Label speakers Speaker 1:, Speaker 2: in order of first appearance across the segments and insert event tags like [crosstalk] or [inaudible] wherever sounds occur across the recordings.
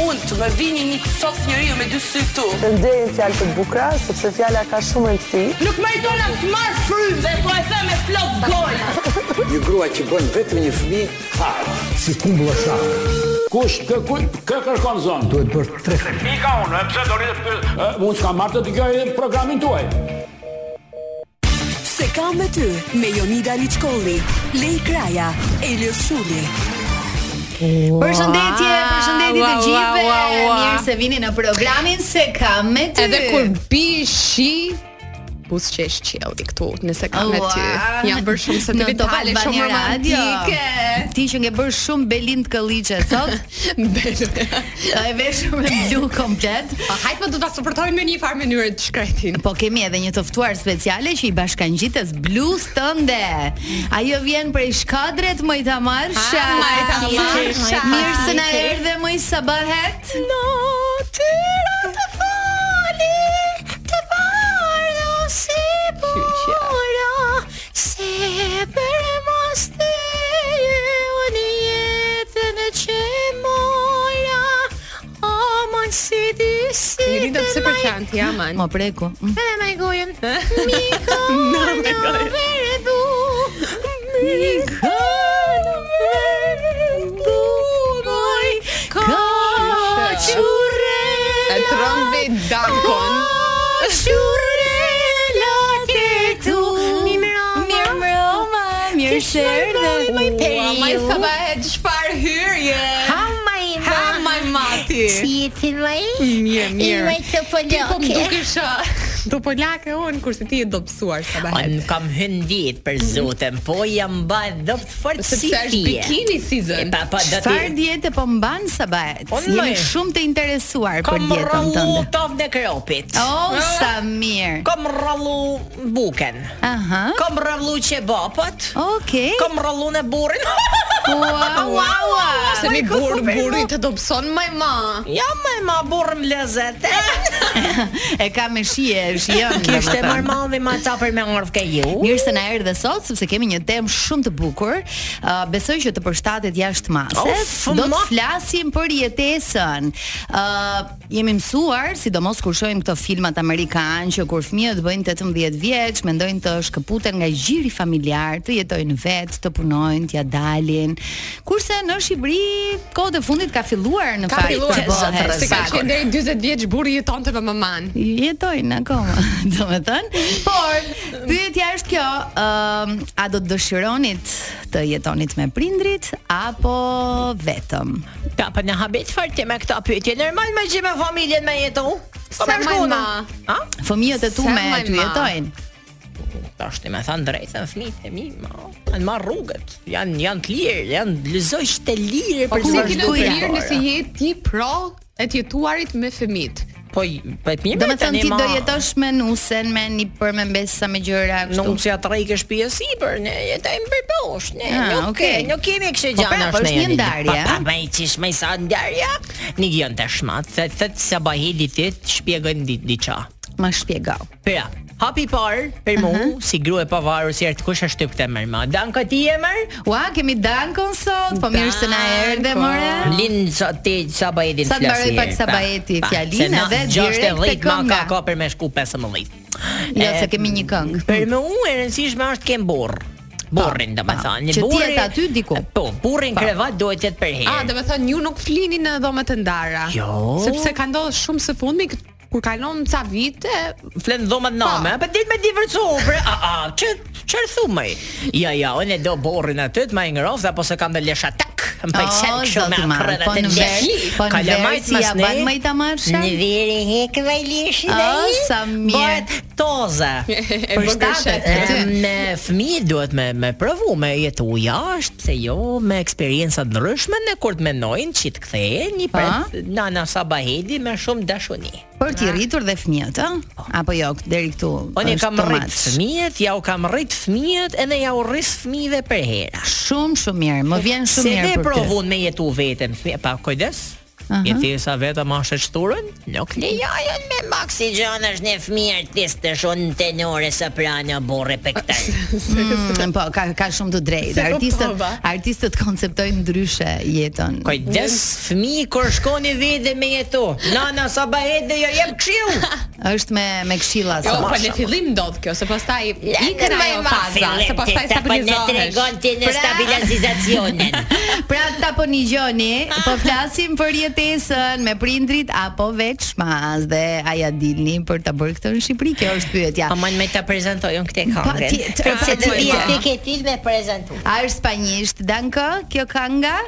Speaker 1: unë të më vini një sof njeriu me dy sy këtu.
Speaker 2: Të nderin fjalë të bukura, sepse fjala ka shumë rëndësi.
Speaker 1: Nuk meriton as të marr frymë dhe po e them me plot gojë.
Speaker 3: Një grua që bën vetëm një fëmijë, fare.
Speaker 4: si kumbulla shafë.
Speaker 5: Kush kë kë kë kërkon zonë?
Speaker 4: Duhet bërë tre
Speaker 5: Pika unë, e pse do rritë pyet? Unë s'kam marrë të dëgjoj programin tuaj.
Speaker 6: Se kam me ty me Jonida Liçkolli, Lej Kraja, Elios Shuli.
Speaker 7: Përshëndetje, përshëndetje të
Speaker 8: Ua, ua,
Speaker 7: gjithëve.
Speaker 8: ua, ua.
Speaker 7: Mirë se vini në programin se kam me ty.
Speaker 8: Edhe kur bi shi Bus që është qelli këtu Nëse ka me ty
Speaker 7: Ua.
Speaker 8: Ja bërë shumë se të
Speaker 7: Në Top
Speaker 8: vitale
Speaker 7: Albania
Speaker 8: Shumë
Speaker 7: Radio.
Speaker 8: romantike
Speaker 7: Ti që nge bërë shumë belin të këlliqe
Speaker 8: [laughs]
Speaker 7: sot,
Speaker 8: jo. Bele.
Speaker 7: e veshur me blu komplet.
Speaker 8: Pa Po, hajtë më do të supportojnë me një farë mënyrë të shkretin
Speaker 7: Po kemi edhe një të ftuar speciale që i bashkangjites blues tënde. Ajo vjen prej Shkodrët Mojtamarsha.
Speaker 8: Ah, Mojtamarsha.
Speaker 7: Mirë se na erdhe moj sabahet. Natyra të fali, të bardha si bora, si për mos të unë jetën e që mora, o mon si di si
Speaker 8: Një rritë pëse për qantë, ja man
Speaker 7: Mo preku. Mhm.
Speaker 8: Edhe me gojën E trombi dankon Ua, maj sa bëhet çfarë hyrje Ha maj mati Mirë, mirë Ti po më dukesh ë, do polake unë, kurse ti je dobësuar sa
Speaker 9: Ai
Speaker 8: bëhet
Speaker 9: nuk kam hyn ditë për zotem, po jam mbaj dhopt fort si
Speaker 8: Sepse është
Speaker 9: fije.
Speaker 8: bikini
Speaker 9: E
Speaker 8: season
Speaker 9: pa pa do ti.
Speaker 7: Çfarë diete po mban Sabahet?
Speaker 9: Unë,
Speaker 7: Jemi
Speaker 9: moj.
Speaker 7: shumë të interesuar për
Speaker 9: Kam
Speaker 7: dietën
Speaker 9: rrallu
Speaker 7: tënde.
Speaker 9: tavën e kropit.
Speaker 7: Oh, sa mirë.
Speaker 9: Kam rrallu buken.
Speaker 7: Aha.
Speaker 9: Kam rrallu qebapët.
Speaker 7: Okej.
Speaker 9: Kam rrallu në burrin. [laughs]
Speaker 7: Ua, ua, ua.
Speaker 8: Se mi burë, burri të dobëson maj ma
Speaker 9: Ja më ma burrëm lezet.
Speaker 7: E ka me shije, shijon.
Speaker 9: Kishte
Speaker 7: domethënë.
Speaker 9: marmalli ma tapër me orf ke ju.
Speaker 7: Mirë se na erdhe sot sepse kemi një temë shumë të bukur. Uh, besoj që të përshtatet jashtë masës.
Speaker 9: Of,
Speaker 7: Do të
Speaker 9: ma.
Speaker 7: flasim për jetesën. Uh, jemi mësuar, sidomos kur shohim këto filmat amerikanë që kur fëmijët bëjnë 18 vjeç, mendojnë të shkëputen nga gjiri familjar, të jetojnë vetë, të punojnë, t'ja dalin. Kurse në Shqipëri kohët e fundit ka filluar në
Speaker 8: Ka
Speaker 7: fakt
Speaker 8: filluar
Speaker 7: të bëhet.
Speaker 8: Se ka
Speaker 7: Saktë
Speaker 8: qenë deri 40 vjeç burri jetonte me maman.
Speaker 7: jetojnë akoma, do me thënë. Por, pyetja është kjo, ëm, a do të dëshironit të jetonit me prindrit, apo vetëm?
Speaker 9: Ta pa në habit fort me këta pyetje. Normal me gjë me familjen me jetu.
Speaker 8: Sa më ma.
Speaker 9: Ha?
Speaker 7: Fëmijët e tu
Speaker 8: Sa
Speaker 7: me
Speaker 8: më
Speaker 7: ty
Speaker 8: ma.
Speaker 7: jetojnë.
Speaker 9: Tash ti më than drejtën fëmijët e mi, ma, kanë marrë rrugët. Janë janë të lirë, janë lëzojsh të lirë
Speaker 8: Po
Speaker 9: për
Speaker 8: ku
Speaker 9: të
Speaker 8: ke
Speaker 9: vazhduar.
Speaker 8: lirë nëse
Speaker 9: jo?
Speaker 8: je ti pro e të jetuarit me fëmit.
Speaker 9: Po, po mirë.
Speaker 7: Do me
Speaker 9: tani,
Speaker 7: thënë ti
Speaker 9: ma,
Speaker 7: do jetosh me nusen, me një për me mbesa me gjëra, kështu.
Speaker 9: Nuk si atë rejke shtëpi e sipër, ne jetojmë për bosh, ne
Speaker 7: Ah,
Speaker 9: nuk
Speaker 7: okay.
Speaker 9: okay. nuk kemi kështu
Speaker 7: Po,
Speaker 9: gjana
Speaker 7: pra, po është një ndarje,
Speaker 9: Pa,
Speaker 7: a?
Speaker 9: pa, më qish më sa ndarja. Një gjon tash ma, thët thët sa baheli ti shpjegojnë di diçka.
Speaker 7: Ma shpjegau.
Speaker 9: Pra, hapi parë për mu, si grua e pavarur, si ertë kush është këtë mërë ma. Danko ti e mërë,
Speaker 7: Ua, kemi Dankon sot, po mirë se na erdhe, more.
Speaker 9: Lin sa te sa bajetin
Speaker 7: Sa të mbaroj pak sa bajeti fjalinë edhe direkt te kënga.
Speaker 9: Ma ka ka për me shku 15.
Speaker 7: Jo,
Speaker 9: E,
Speaker 7: se kemi një këngë.
Speaker 9: Për me u e rëndësishme është kem burr. Burrin do të
Speaker 7: pa, që
Speaker 9: thonë,
Speaker 7: ti
Speaker 9: burri-
Speaker 7: jetë aty diku. Ah,
Speaker 9: Po, burrin krevat duhet të jetë për herë.
Speaker 8: A, do me thënë ju nuk flini në dhomë të ndara.
Speaker 9: Jo.
Speaker 8: Sepse ka ndodhur shumë së fundmi kët- kur kalon ca vite,
Speaker 9: flen dhomat name, po dit me divercu, bre. A a, çë çfarë thumaj? Ja ja, unë e do burrin aty të më ngroft apo se kam dhe lesha tak. Më pëlqen
Speaker 7: O,
Speaker 9: kështu me
Speaker 7: zoti madh,
Speaker 9: akrenat
Speaker 7: po
Speaker 9: e
Speaker 7: në ver-
Speaker 9: leshi.
Speaker 7: po në
Speaker 9: Kalamajt
Speaker 7: ver si
Speaker 9: mas
Speaker 7: ja
Speaker 9: ne,
Speaker 7: ban më i tamarshën?
Speaker 9: Në veri hek vaj leshi
Speaker 7: O,
Speaker 9: dhe i.
Speaker 7: sa mirë.
Speaker 9: Bëhet
Speaker 7: [laughs]
Speaker 9: toza.
Speaker 8: e
Speaker 7: Për
Speaker 8: përshtatet.
Speaker 7: shtatet, aty.
Speaker 9: Em, Me fëmijë duhet me me provu me jetu jashtë, pse jo me eksperjenca të ndryshme në kur të menojnë që të kthehen një
Speaker 7: Pa.
Speaker 9: prit Nana Sabahedi me shumë dashuni.
Speaker 7: Për t'i rritur dhe fëmijët, ë? Apo jo, deri këtu.
Speaker 9: Unë i
Speaker 7: është
Speaker 9: kam
Speaker 7: too
Speaker 9: rrit
Speaker 7: much.
Speaker 9: fëmijët, ja u kam rrit fëmijët edhe ja u rris fëmijëve për hera.
Speaker 7: Shumë shumë mirë, më vjen shumë
Speaker 9: Se
Speaker 7: mirë
Speaker 9: dhe
Speaker 7: për ty.
Speaker 9: provon me jetu vetëm fëmijë, pa kujdes. Një thjesa veta ma është e shturën, nuk lejohen me maksi
Speaker 4: Gjon është një fëmijë artist të shonë tenore soprano borre pe
Speaker 7: [laughs] Mm, po, ka ka shumë të drejtë.
Speaker 8: Se kuptova.
Speaker 7: Artistët artistët konceptojnë ndryshe jetën.
Speaker 9: Kujdes fëmijë kur shkoni vetë dhe me jetu. Nana sa bëhet dhe jo jep këshill.
Speaker 7: Është me me këshilla
Speaker 8: Jo,
Speaker 7: sa.
Speaker 8: po në fillim ndodh kjo, se pastaj ikën
Speaker 4: Ikën
Speaker 9: jo,
Speaker 8: ajo faza, se pastaj
Speaker 9: po
Speaker 4: Ne tregon
Speaker 8: stabilizohesh.
Speaker 4: ti në stabilizacionin.
Speaker 7: [laughs] Pra ta po një gjoni, po flasim për jetesën me prindrit apo veç mas dhe aja dilni për ta bërë këtë në Shqipëri, kjo është pyetja.
Speaker 9: Aman me ta prezentojnë këtë këngën.
Speaker 7: Patjetër,
Speaker 4: Se Pra, të
Speaker 7: patjetër.
Speaker 4: bie ti ke ti me prezentu.
Speaker 7: A është spanjisht, Danko, kjo kanga?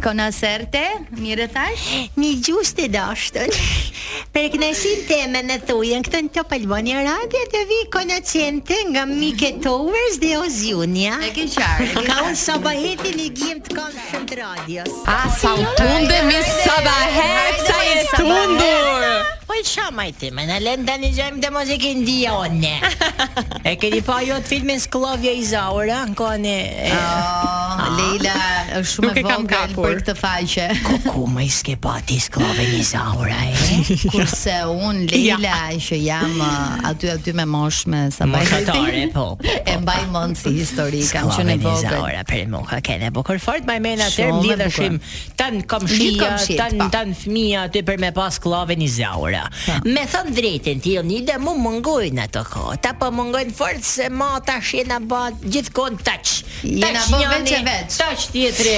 Speaker 7: Konacerte, mire thash?
Speaker 4: Një gjusë të dashtën [laughs] Për kënaqësinë teme në thujën Këtë në Top Albania Radio Të vi konacente nga Mike Towers dhe Oziunia
Speaker 7: E ke qarë, e ke
Speaker 4: Ka unë sabaheti një gjem të kanë shumë të radios
Speaker 8: A sa u tunde mi sabahet, sa je tundur.
Speaker 4: Po i shama i time, në lënë të një gjëjmë dhe muzikë ndia o ne [laughs]
Speaker 9: E keni pa
Speaker 4: jo
Speaker 9: ju atë filmin Skllavja i Zaura, në kohën e e-
Speaker 7: Oh, Leila është shumë
Speaker 8: Nuk
Speaker 7: e
Speaker 8: e kam
Speaker 7: vogël
Speaker 8: kapur.
Speaker 7: për këtë faqe.
Speaker 9: Ku më i ske pa ti Skllavën i Zaura,
Speaker 4: [laughs]
Speaker 9: e?
Speaker 7: Kurse un Leila që jam uh, aty aty me mosh me
Speaker 9: Moshatare,
Speaker 7: [laughs] sabajhetin.
Speaker 9: po, po, po.
Speaker 7: E mbaj mend si histori, kam qenë e
Speaker 9: Skllavën i
Speaker 7: vogël.
Speaker 9: Zaura, për mua ka kene bukur fort më mend atë
Speaker 7: Shumë e
Speaker 9: lidheshim tan
Speaker 7: Gjithë
Speaker 9: komshia,
Speaker 7: komshit,
Speaker 9: tan
Speaker 7: po.
Speaker 9: tan fëmia aty për me pas skllavën i Zaura.
Speaker 4: Me thënë drejtën ti unë dhe mu mungojnë ato kohë Ta po mungojnë fort se ma tash jena ba gjithkon taq
Speaker 7: Jena
Speaker 4: Taq
Speaker 7: bë
Speaker 4: njani,
Speaker 7: veç e veç.
Speaker 4: Taq tjetri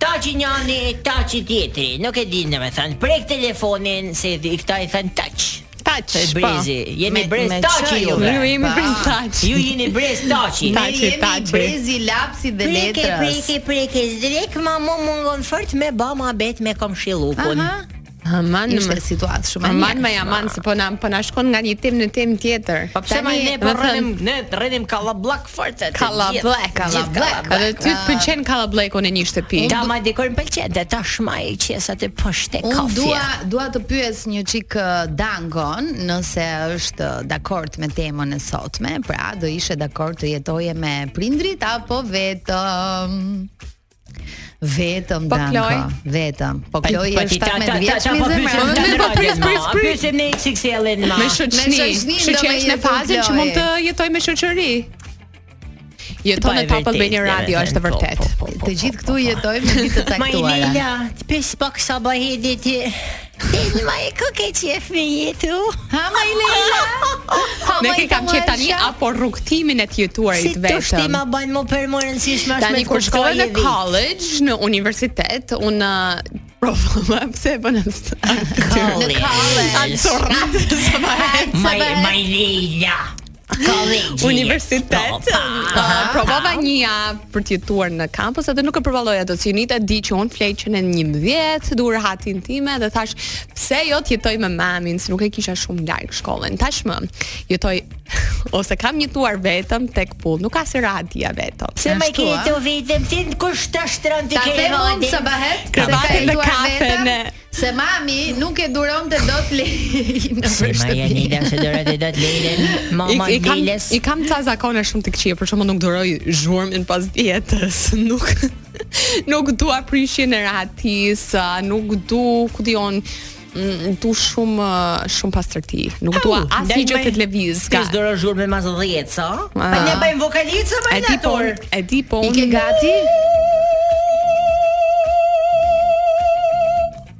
Speaker 4: Taq i njani, taq i tjetri Nuk e di në me thënë Prek telefonin se i këta i thënë taq
Speaker 8: Taç.
Speaker 4: Të brezi Jemi
Speaker 7: Me-
Speaker 4: brez
Speaker 7: me
Speaker 4: taq
Speaker 7: q
Speaker 4: juve
Speaker 8: Ju jemi
Speaker 7: Pa.
Speaker 8: brez taç.
Speaker 4: Ju jeni brez taqi
Speaker 7: Ne
Speaker 8: Taçi,
Speaker 7: jemi
Speaker 8: taçi.
Speaker 7: brezi lapsi dhe
Speaker 4: Preke,
Speaker 7: letrës.
Speaker 4: preke, preke, zdrek, ma mu mungon fort me ba ma bet me kom shilukun.
Speaker 7: Aha,
Speaker 8: Aman në
Speaker 7: ishte situatë shumë e
Speaker 8: Aman
Speaker 7: mirë.
Speaker 8: me aman se po na po na shkon nga një temë në temë tjetër.
Speaker 9: Po pse më
Speaker 7: Tani,
Speaker 9: ne
Speaker 8: do
Speaker 9: po
Speaker 8: të
Speaker 9: rrenim ne rrenim kallabllak fort atë.
Speaker 8: Kalla
Speaker 9: gjithë,
Speaker 8: black,
Speaker 9: gjithë
Speaker 8: kalla black. Edhe ty të pëlqen kalla black unë në një shtëpi.
Speaker 9: Ta ma dikur më pëlqen dhe tash ma i qes atë pështe
Speaker 7: Unë
Speaker 9: kafje.
Speaker 7: dua dua të pyes një çik ë, Dangon nëse është ë, dakord me temën e sotme, pra do ishe dakord të jetoje me prindrit apo vetëm vetëm
Speaker 8: Po,
Speaker 7: Danko,
Speaker 8: Kloj?
Speaker 7: vetëm. Po Kloj është 17 vjeç me
Speaker 8: po,
Speaker 7: zemër. [laughs]
Speaker 8: pysim, po, pris, pris, pris.
Speaker 9: Pyesim ne XXL-in ma.
Speaker 8: Me shoqëni.
Speaker 7: Me shoqëni,
Speaker 8: Kështu
Speaker 7: do
Speaker 8: që
Speaker 7: me
Speaker 8: është në
Speaker 7: jetu
Speaker 8: fazën që
Speaker 7: Chloe.
Speaker 8: mund të jetoj me shoqëri. Jeton
Speaker 9: Pa,
Speaker 8: në
Speaker 9: e
Speaker 8: Top
Speaker 9: vërtet,
Speaker 8: Albania
Speaker 9: e
Speaker 8: Radio
Speaker 9: vërtet,
Speaker 8: është e
Speaker 9: po,
Speaker 8: vërtet.
Speaker 9: po, po, po.
Speaker 7: Të gjithë këtu jetojmë në ditë të
Speaker 9: [laughs]
Speaker 4: Ma i
Speaker 7: caktuara.
Speaker 4: lila, të pes pak sa bahedi ti. Ti ma e ko ke qef me jetu.
Speaker 7: Ha ma i lila.
Speaker 9: [laughs]
Speaker 7: Ha,
Speaker 8: Ne
Speaker 7: [laughs] ma
Speaker 8: ke
Speaker 7: i
Speaker 8: kam qenë tani
Speaker 7: kamasha.
Speaker 8: apo rrugtimin e të
Speaker 4: Si
Speaker 8: jetuarit
Speaker 4: të shti
Speaker 8: vetëm.
Speaker 4: ma banë më për më rëndësishme është me
Speaker 8: Tani kur
Speaker 4: kuptoj
Speaker 8: shkova në
Speaker 4: e vit.
Speaker 8: college, në universitet, unë uh, [laughs] provova pse e bën atë. [laughs]
Speaker 7: Në
Speaker 8: Atë
Speaker 7: kalle.
Speaker 8: sorrat sa më herë.
Speaker 4: Ma i ma i lila. College.
Speaker 8: Universitet. Uh, provova një javë për të jetuar në kampus, atë nuk e provalloj ato sinita, di që unë flej që në 11, du rahatin time dhe thash, pse jo të jetoj me mamin, se nuk e kisha shumë larg shkollën. Tashmë jetoj [laughs] ose kam jetuar vetëm tek pull, nuk ka si rahatia vetëm.
Speaker 4: Se ma i
Speaker 7: Ashtu,
Speaker 4: keni
Speaker 7: a?
Speaker 4: të vetëm, ti në kush të shtërën të
Speaker 7: Ta
Speaker 4: kere
Speaker 7: them unë
Speaker 4: vadi.
Speaker 7: së bëhet se
Speaker 8: Kravatin
Speaker 7: ka
Speaker 8: dhe
Speaker 7: jetuar
Speaker 8: kafen
Speaker 7: vetëm,
Speaker 8: e-
Speaker 7: Se mami nuk e duron të do të [laughs] lejë në
Speaker 9: Se ma
Speaker 7: shtëpi.
Speaker 9: janë ida se dora të do të lejden
Speaker 8: [laughs] I,
Speaker 9: Mama
Speaker 8: i kam
Speaker 9: Diles
Speaker 8: i kam ca zakone shumë të këqija, për shembull nuk duroj zhurmën pas dietës, [laughs] nuk nuk dua prishjen e rahatisë, a, nuk du, ku dion, mm, du shumë uh, shumë pastërti. Nuk dua asnjë gjë të lëviz.
Speaker 9: Ka
Speaker 8: Ka.
Speaker 9: zdora zhurmë me mas 10, sa?
Speaker 8: Ah.
Speaker 9: Pa ne bëjmë vokalicë më
Speaker 8: E di po,
Speaker 9: nator.
Speaker 8: e di po.
Speaker 7: I ke
Speaker 8: unë-
Speaker 7: gati?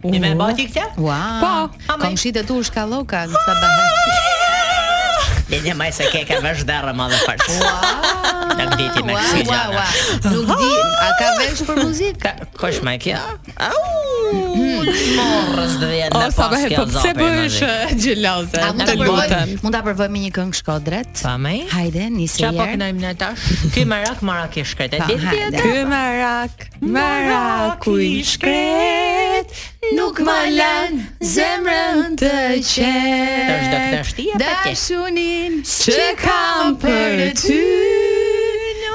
Speaker 9: Ne me bati këtë?
Speaker 7: Wow.
Speaker 8: Po.
Speaker 7: Komshit e tu shkalloka në sabahet.
Speaker 9: Ne ne më se ke ka vesh darë më dhe fort. Wow. Nuk diti me
Speaker 7: Wow,
Speaker 9: kësi
Speaker 7: wow,
Speaker 9: gjana.
Speaker 7: wow. Nuk di, a ka vesh për muzikë?
Speaker 9: Kosh më kjo? Au! Morrës dhe vjen
Speaker 8: Hmm. O,
Speaker 9: në
Speaker 8: sa
Speaker 9: pas
Speaker 8: bëhet,
Speaker 9: kjo
Speaker 8: po pse bëhesh
Speaker 9: zapë.
Speaker 8: [laughs] uh, gjeloze?
Speaker 7: A mund ta
Speaker 8: Të
Speaker 7: përvoj?
Speaker 8: lutem.
Speaker 7: Mund ta përvoj me një këngë shkodret?
Speaker 9: Pa më?
Speaker 7: Hajde, nisi
Speaker 9: Qa po
Speaker 7: herë.
Speaker 9: kënajmë në tash? Ky marak marak i shkret e
Speaker 7: Pa,
Speaker 9: ditë
Speaker 7: hajde.
Speaker 9: tjetër.
Speaker 8: Ky marak, maraku i shkret, nuk ma lan zemrën të qetë.
Speaker 9: Tash do këtë shtia pa ti.
Speaker 7: Dashunin
Speaker 8: që kam për ty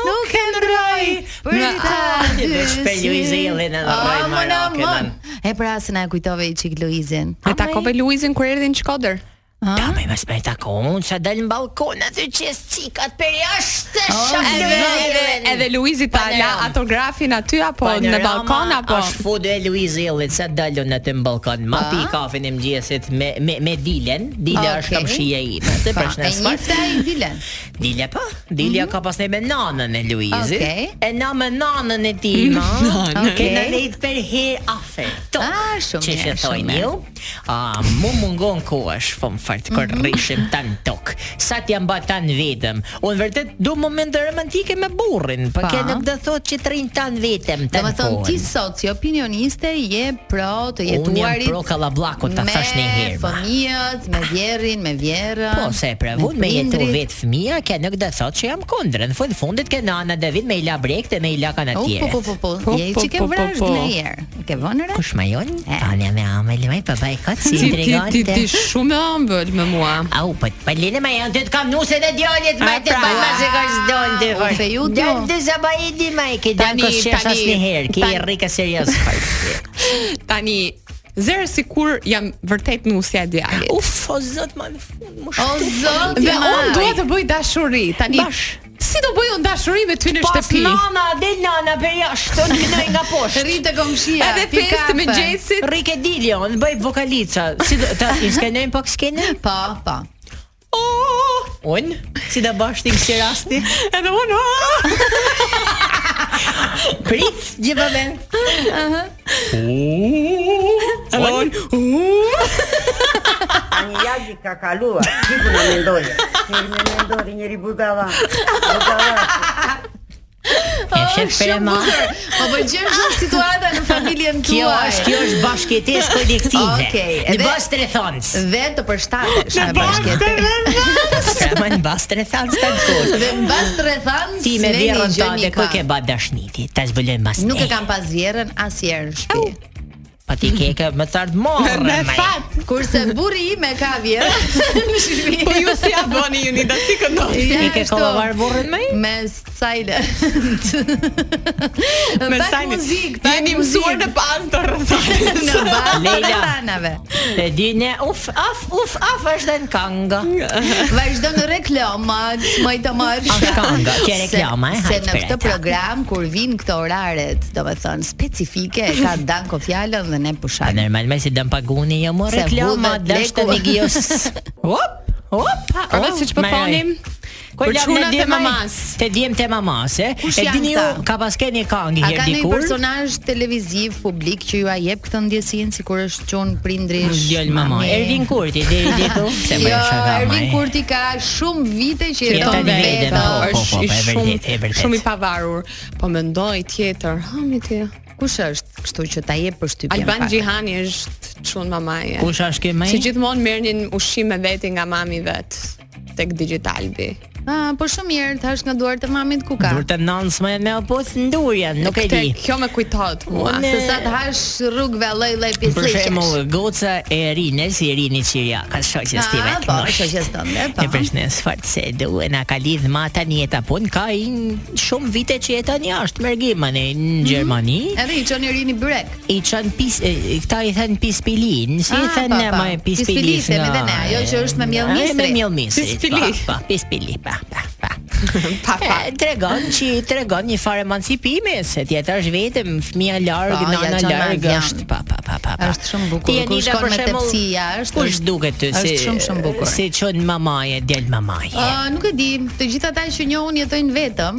Speaker 8: nuk e ndroj
Speaker 7: Për ta
Speaker 9: ah, Ti do shpe Luizellin edhe rroj marakën.
Speaker 7: E pra se na e kujtove i çik Luizin.
Speaker 8: E takove Luizin kur erdhi në Shkodër.
Speaker 9: Ta me më spektakon, sa del në balkon aty qes cikat për jashtë shakë.
Speaker 8: Oh, Edhe Luizi ta la
Speaker 9: Panorama.
Speaker 8: autografin aty
Speaker 7: Po,
Speaker 8: apo në balkon apo
Speaker 9: Është fudu e Luiz Illit sa dalën atë në balkon. Ma pi kafin e mëngjesit me me me Dilen. Dila është
Speaker 7: Okej.
Speaker 9: kamshia ime. Atë
Speaker 7: Pa,
Speaker 9: për
Speaker 7: e Mhm.
Speaker 9: shnes
Speaker 7: njëfta i Dilen.
Speaker 9: Dilja po. Dilja ka pasne me nanën e Luizit.
Speaker 7: Okej.
Speaker 9: E na me nanën e tij, ma.
Speaker 7: [laughs] Nanën.
Speaker 9: Ke na lejt për herë afër. Tok.
Speaker 7: Ah, shumë
Speaker 9: Që
Speaker 7: mirë,
Speaker 9: që
Speaker 7: shumë
Speaker 9: thojnë
Speaker 7: mirë.
Speaker 9: ju A, mu mungon kohësh Po më fartë, kër
Speaker 7: Mhm.
Speaker 9: rishim tan tok Sa t'ja mba tan vetëm Unë vërtet du momente romantike me burrin Po
Speaker 7: Pa.
Speaker 9: ke nuk do thot që të rinë tan vetëm
Speaker 7: Do
Speaker 9: Tan
Speaker 7: të thonë
Speaker 9: kohën.
Speaker 7: ti sot si opinioniste je pro të
Speaker 9: Unë jam
Speaker 7: jetuarit.
Speaker 9: pro kallabllakut, ta thash një herë,
Speaker 7: Me
Speaker 9: ma.
Speaker 7: fëmijët, me vjerrin, me vjerën.
Speaker 9: Po, se e pravun me jetu
Speaker 7: prindrit.
Speaker 9: vetë fëmija, ke nuk dhe thot që jam kundrën. Në fund fundit ke nana David me i la brek dhe me i la kanë
Speaker 7: O,
Speaker 9: atjere.
Speaker 7: po po po po.
Speaker 8: Po,
Speaker 7: Je
Speaker 8: po,
Speaker 7: që ke
Speaker 8: po, po,
Speaker 7: vrarë
Speaker 8: po.
Speaker 7: në herë. Ke vënë re?
Speaker 9: Kush ma jon?
Speaker 7: E.
Speaker 9: Tanja me amel, me i papa i këtë si
Speaker 8: Ti
Speaker 9: i
Speaker 8: ti ti, ti
Speaker 9: dregante.
Speaker 8: shumë e ëmbël me mua.
Speaker 9: Au, po të palene ma janë, të të kam nuse dhe djallit, ma
Speaker 8: A,
Speaker 9: të
Speaker 8: pra.
Speaker 9: palma se ka s'donë të
Speaker 7: U
Speaker 9: vërë.
Speaker 7: feju t'ju.
Speaker 9: Djallit të zabajidi, ma i ke danë
Speaker 8: Tani,
Speaker 9: kësë qesh
Speaker 8: tani,
Speaker 9: asë një herë, ki
Speaker 8: tani.
Speaker 9: i rrika
Speaker 8: [laughs]
Speaker 9: serios fajtë.
Speaker 8: Tani zero sikur jam vërtet nusja e djalit.
Speaker 9: Uf, o zot, ma në fund, më
Speaker 7: O
Speaker 9: shtu.
Speaker 7: zot,
Speaker 8: Dhe unë dua të bëj dashuri. Tani
Speaker 9: Bash.
Speaker 8: si do bëj unë dashuri me ty në
Speaker 9: Pas
Speaker 8: shtëpi?
Speaker 9: nana, del nana për jashtë, të në kënoj nga poshtë.
Speaker 7: rrit e komshia.
Speaker 8: Edhe
Speaker 7: pi
Speaker 8: festë me
Speaker 7: kafe.
Speaker 8: gjesit.
Speaker 9: Rike Dillion, bëj vokalica. Si do
Speaker 8: [laughs]
Speaker 9: ta i skenojm pak skenën?
Speaker 7: Po, po.
Speaker 9: Un, si do bash ti kësi rasti?
Speaker 8: Oh! [laughs] Edhe unë oh!
Speaker 9: [laughs] Prit, gjithë vend. Aha. Un,
Speaker 8: oh!
Speaker 10: Ani jazi ka kaluar, gjithë në mendoje. Njëri me mendori, njëri budala. Budala.
Speaker 9: e shef për e ma.
Speaker 7: Po pëlqen shumë situata
Speaker 9: [laughs]
Speaker 7: në familjen tuaj.
Speaker 9: Kjo është, kjo është bashkëtesë kolektive.
Speaker 7: Okej,
Speaker 9: Në
Speaker 7: edhe-
Speaker 9: bas trethoncë.
Speaker 7: Dhe të përshtatesh në bashkëtim.
Speaker 9: [laughs] Pra në bas trethoncë të kohë.
Speaker 7: Dhe mbas rrethan
Speaker 9: Ti me vjerën tënde ku ke bë dashniti? Ta zbulojmë pas.
Speaker 7: Nuk e
Speaker 9: ne.
Speaker 7: kam pas vjerën asnjëherë në shtëpi.
Speaker 9: Po ti ke ke më tard morë.
Speaker 8: Me
Speaker 9: ma.
Speaker 8: fat.
Speaker 7: Kurse burri im e ka vjerën në shtëpi.
Speaker 8: Po ju si ja bëni ju nida si këndoni.
Speaker 7: Ja,
Speaker 9: I ke
Speaker 7: ashtu.
Speaker 9: kollavar burrin më?
Speaker 7: me silent. me pak
Speaker 8: sajnë.
Speaker 7: muzikë, pak
Speaker 8: Jeni mësuar
Speaker 7: muzikë
Speaker 8: në pas të rrethanit.
Speaker 7: në bazë të
Speaker 9: Leila.
Speaker 7: rrethanave.
Speaker 9: Te di ne uf af uf af është dhe në kanga.
Speaker 7: Vazhdo në reklamat, më të marrë.
Speaker 9: Është kënga, kjo reklama, e,
Speaker 7: [laughs] Se
Speaker 9: hajtë
Speaker 7: në
Speaker 9: për
Speaker 7: këtë
Speaker 9: ata.
Speaker 7: program kur vin këto oraret, domethënë specifike, e ka Danko fjalën dhe ne
Speaker 9: A
Speaker 7: pushajmë.
Speaker 9: normal me si dëm paguni jo më
Speaker 7: Se
Speaker 9: reklama
Speaker 7: hudhet
Speaker 9: dash të
Speaker 7: leku.
Speaker 9: vigios.
Speaker 7: [laughs]
Speaker 9: Hop, hop.
Speaker 8: Edhe siç po thonim, për çunat e mamas.
Speaker 9: Te djem te mamas, e.
Speaker 7: Kush
Speaker 9: E
Speaker 7: janë
Speaker 9: dini ju
Speaker 7: këta?
Speaker 9: ka pas keni këngë
Speaker 7: A
Speaker 9: herë
Speaker 7: ka një
Speaker 9: dikur.
Speaker 7: personazh televiziv publik që ju a jep këtë ndjesinë sikur është qun prindrish?
Speaker 9: Djal mama,
Speaker 7: mami?
Speaker 9: Ervin Kurti
Speaker 7: [laughs]
Speaker 9: deri diku, se
Speaker 7: Jo,
Speaker 9: më shaka.
Speaker 7: Ervin Kurti ka shumë vite që jeton
Speaker 9: tani vetëm,
Speaker 7: vetëm.
Speaker 9: po, po.
Speaker 7: Është
Speaker 8: Është i
Speaker 9: e
Speaker 8: shumë
Speaker 9: vërtet, e vërtet.
Speaker 8: shumë i pavarur. Po mendoj tjetër, hami ti.
Speaker 7: kush është, kështu që ta jep përshtypjen.
Speaker 8: Alban
Speaker 7: pak.
Speaker 8: Gjihani është çun mamaje.
Speaker 9: Kush është ky më?
Speaker 8: Që gjithmonë merrnin ushqim me veti nga mami vet tek Digitalbi.
Speaker 7: Ah, po shumë mirë, thash nga duart e mamit ku ka.
Speaker 9: Dur të nënës më me opus ndurja, nuk e di.
Speaker 8: Te kjo më kujtohet mua.
Speaker 9: Unë-
Speaker 7: Se sa të hash rrugëve lloj-lloj
Speaker 9: Për
Speaker 7: pjesësh.
Speaker 9: shembull, goca e Rines, i Rini Qiria, ka shoqës time.
Speaker 7: po, shoqes tënde, po.
Speaker 9: E përshnes fort se du e na ka lidh ma tani e tapun ka i n- shumë vite që jeton jashtë mërgimën e
Speaker 7: Mhm.
Speaker 9: në Gjermani
Speaker 7: Edhe i çon i rini byrek.
Speaker 9: i çon pis e, e, këta i thënë pispilin si i
Speaker 7: Ah,
Speaker 9: thënë
Speaker 7: po,
Speaker 9: ne
Speaker 7: po.
Speaker 9: ma e pispilis
Speaker 7: Pispili themi dhe ne, ajo që është me mjell
Speaker 9: e, me
Speaker 7: misri.
Speaker 9: mjell misri
Speaker 8: Pispili.
Speaker 9: pa, pa, pispili pa pa pa
Speaker 7: [laughs]
Speaker 8: Pa pa.
Speaker 9: E, tregon që tregon një farë emancipimi se tjetër është vetëm fëmia larg,
Speaker 7: Po, ja
Speaker 9: nana
Speaker 7: çon
Speaker 9: larg
Speaker 7: larg
Speaker 9: është pa pa pa pa. pa.
Speaker 7: Është shumë bukur,
Speaker 9: Ti,
Speaker 7: kur
Speaker 9: Anita,
Speaker 7: shkon
Speaker 9: për
Speaker 7: me
Speaker 9: shembull,
Speaker 7: tepsia, është-
Speaker 9: Kush duket ty
Speaker 7: është shumë, shumë bukur.
Speaker 9: Si çon mamaje, djal
Speaker 7: Ë,
Speaker 9: mamaje.
Speaker 7: Ah, nuk e di, të gjithë ata që njohun jetojnë vetëm.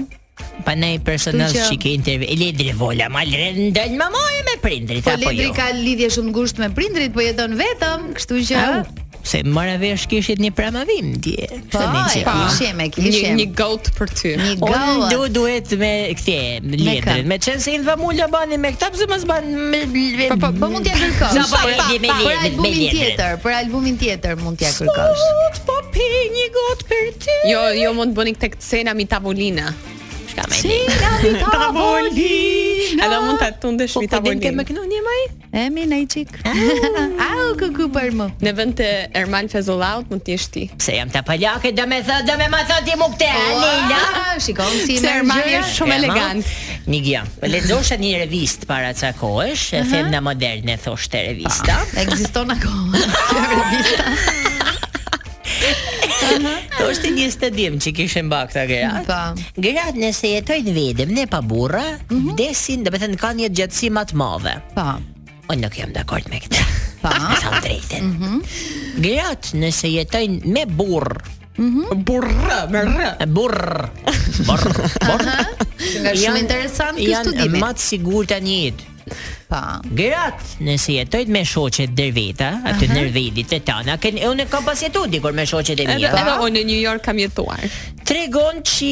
Speaker 9: Pa ne personazh
Speaker 7: Kështu që-
Speaker 9: që ke intervju Ledri Vola ma lërë ndalë mamaje me prindrit
Speaker 7: Po
Speaker 9: apo
Speaker 7: Ledri
Speaker 9: jo
Speaker 7: ka lidhje shumë të ngushtë me prindrit, po jeton vetëm, kështu që
Speaker 9: Au, Se mëra vesh kishit një pramavim dje
Speaker 7: Po, e
Speaker 9: po
Speaker 7: kishim, e
Speaker 8: Një,
Speaker 7: kishim.
Speaker 8: një goat për ty.
Speaker 7: Një
Speaker 9: Unë
Speaker 7: gallë.
Speaker 9: du duhet me këtje, me ledrin
Speaker 7: kë?
Speaker 9: Me qenë se Ilva Mulla bani me këta Pëse mos ban me
Speaker 7: Po po, po mund t'ja kërkosh.
Speaker 9: Za po, di me
Speaker 7: Për
Speaker 9: ledrin, me
Speaker 7: albumin
Speaker 9: ledrin.
Speaker 7: tjetër, për albumin tjetër mund t'ja kërkosh.
Speaker 9: Po pi një gotë për ty
Speaker 8: Jo, jo mund të bëni këtë scena mi tavolina.
Speaker 9: Shka me
Speaker 7: Ti
Speaker 9: [laughs]
Speaker 7: na di tavolina.
Speaker 8: Edhe mund ta tundesh mi tavolina.
Speaker 9: kënu një maj
Speaker 7: E mi na i çik. [laughs] Au kuku për më.
Speaker 8: Në vend të Ermal Fezollaut mund të jesh ti.
Speaker 9: Se jam të palake Dhe me thë, dhe me ma thë ti mu këte
Speaker 7: Po.
Speaker 9: a, Leila
Speaker 7: [laughs] Ua, Ah, Shikon si
Speaker 8: Se Ermali
Speaker 7: gjëra.
Speaker 8: është shumë
Speaker 9: Ema,
Speaker 8: elegant.
Speaker 9: Nigia, lexosha një revist para ca kohësh, e femna moderne thoshte revista.
Speaker 7: Ekziston akoma. Kjo revista.
Speaker 9: To është një stadium që kishin bak këta gëra.
Speaker 7: Po.
Speaker 9: Gërat nëse jetojnë vetëm, ne pa burra,
Speaker 7: Mhm.
Speaker 9: vdesin, domethënë kanë një gjatësi më të madhe.
Speaker 7: Po.
Speaker 9: Unë nuk jam dakord me këtë.
Speaker 7: Po.
Speaker 9: Me [laughs] sa drejtën.
Speaker 7: Mhm.
Speaker 9: Gërat nëse jetojnë me burr,
Speaker 7: Mhm.
Speaker 8: Burrë, me rë.
Speaker 9: burr, burr, burr.
Speaker 7: Nga shumë
Speaker 9: janë-
Speaker 7: interesant ky
Speaker 9: janë
Speaker 7: studimi.
Speaker 9: Më të sigurt tani jetë.
Speaker 7: Po.
Speaker 9: Grat, nëse jetojt me shoqet dërveta, aty në rvedit e tana, ken, unë kam pas jetu dikur me shoqet e
Speaker 8: Edhe
Speaker 9: mia.
Speaker 8: edhe unë në New York kam jetuar.
Speaker 9: Tregon që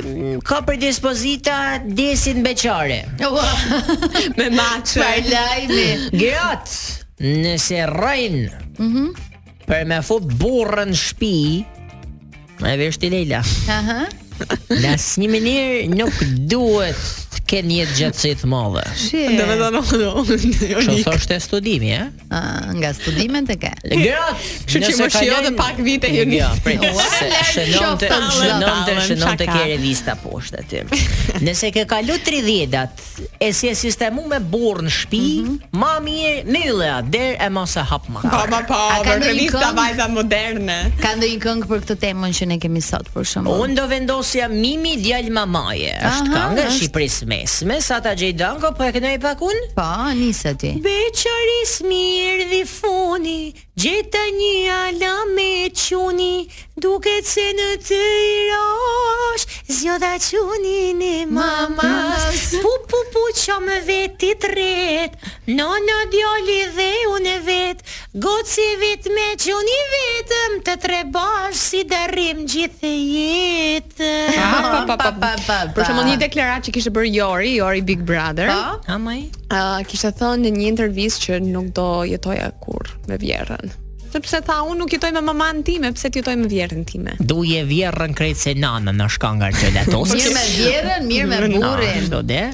Speaker 9: mm, ka predispozita desin beqare.
Speaker 7: Ua,
Speaker 8: Me maçë.
Speaker 7: Çfarë lajmi?
Speaker 9: Grat, nëse rrojnë, për me fut burrën në shtëpi, e vesh ti Leila.
Speaker 7: Aha.
Speaker 9: Në asnjë mënyrë nuk duhet të kenë jetë gjatësi të madhe.
Speaker 7: Shi.
Speaker 8: Do me thonë unë- unë
Speaker 9: Kështu
Speaker 8: unë-
Speaker 9: thoshte studimi, e?
Speaker 7: Ah, nga studimet e ke.
Speaker 9: Grat,
Speaker 8: Kështu që më shio dhe pak vite jeni.
Speaker 9: Jo, prit.
Speaker 7: Ua,
Speaker 9: se-
Speaker 7: lart,
Speaker 9: Shënonte,
Speaker 7: qoftë,
Speaker 9: shënonte,
Speaker 8: tallën, shaka.
Speaker 9: shënonte ke revista poshtë aty. Nëse ke kalu 30-at, e si e sistemu me burr në shtëpi,
Speaker 8: Mhm.
Speaker 9: ma mirë mylle atë derë e mos e hap më.
Speaker 8: Po, po, po,
Speaker 7: A ka
Speaker 8: për
Speaker 7: ndonjë
Speaker 8: revista
Speaker 7: këngë?
Speaker 8: vajza moderne.
Speaker 7: Ka ndonjë këngë për këtë temën që ne kemi sot për shembull?
Speaker 9: Unë do vendosja Mimi djalë mamaje. Është
Speaker 7: Aha,
Speaker 9: kënga e
Speaker 7: është.
Speaker 9: Shqipërisë mesme, sa ta gjej danko, po e kënoj pak unë.
Speaker 7: Po, nisë ti.
Speaker 9: Beqaris mirë dhi funi, gjeta një ala me quni, duket se në të i rosh, zjoda qunin e mamas. Pu, pu, pu, që më veti të ret, në në djali dhe unë e vet, goci vet me quni vetëm, të tre bash si darim gjithë jetën.
Speaker 8: Pa, pa, pa,
Speaker 7: pa, pa,
Speaker 8: Për
Speaker 7: pa.
Speaker 8: shembull një deklaratë që kishte bërë Jori, Jori Big Brother.
Speaker 7: Po?
Speaker 9: Amaj?
Speaker 8: Uh, kishte thënë në një intervistë që nuk do jetoja kur me vjerrën. Sepse tha unë nuk jetoj me maman time, pse të jetoj me vjerrën time.
Speaker 9: Duje vjerën krejt se nana në shkangar që
Speaker 7: Mirë me vjerën, mirë me burrin.
Speaker 9: Ashtu de.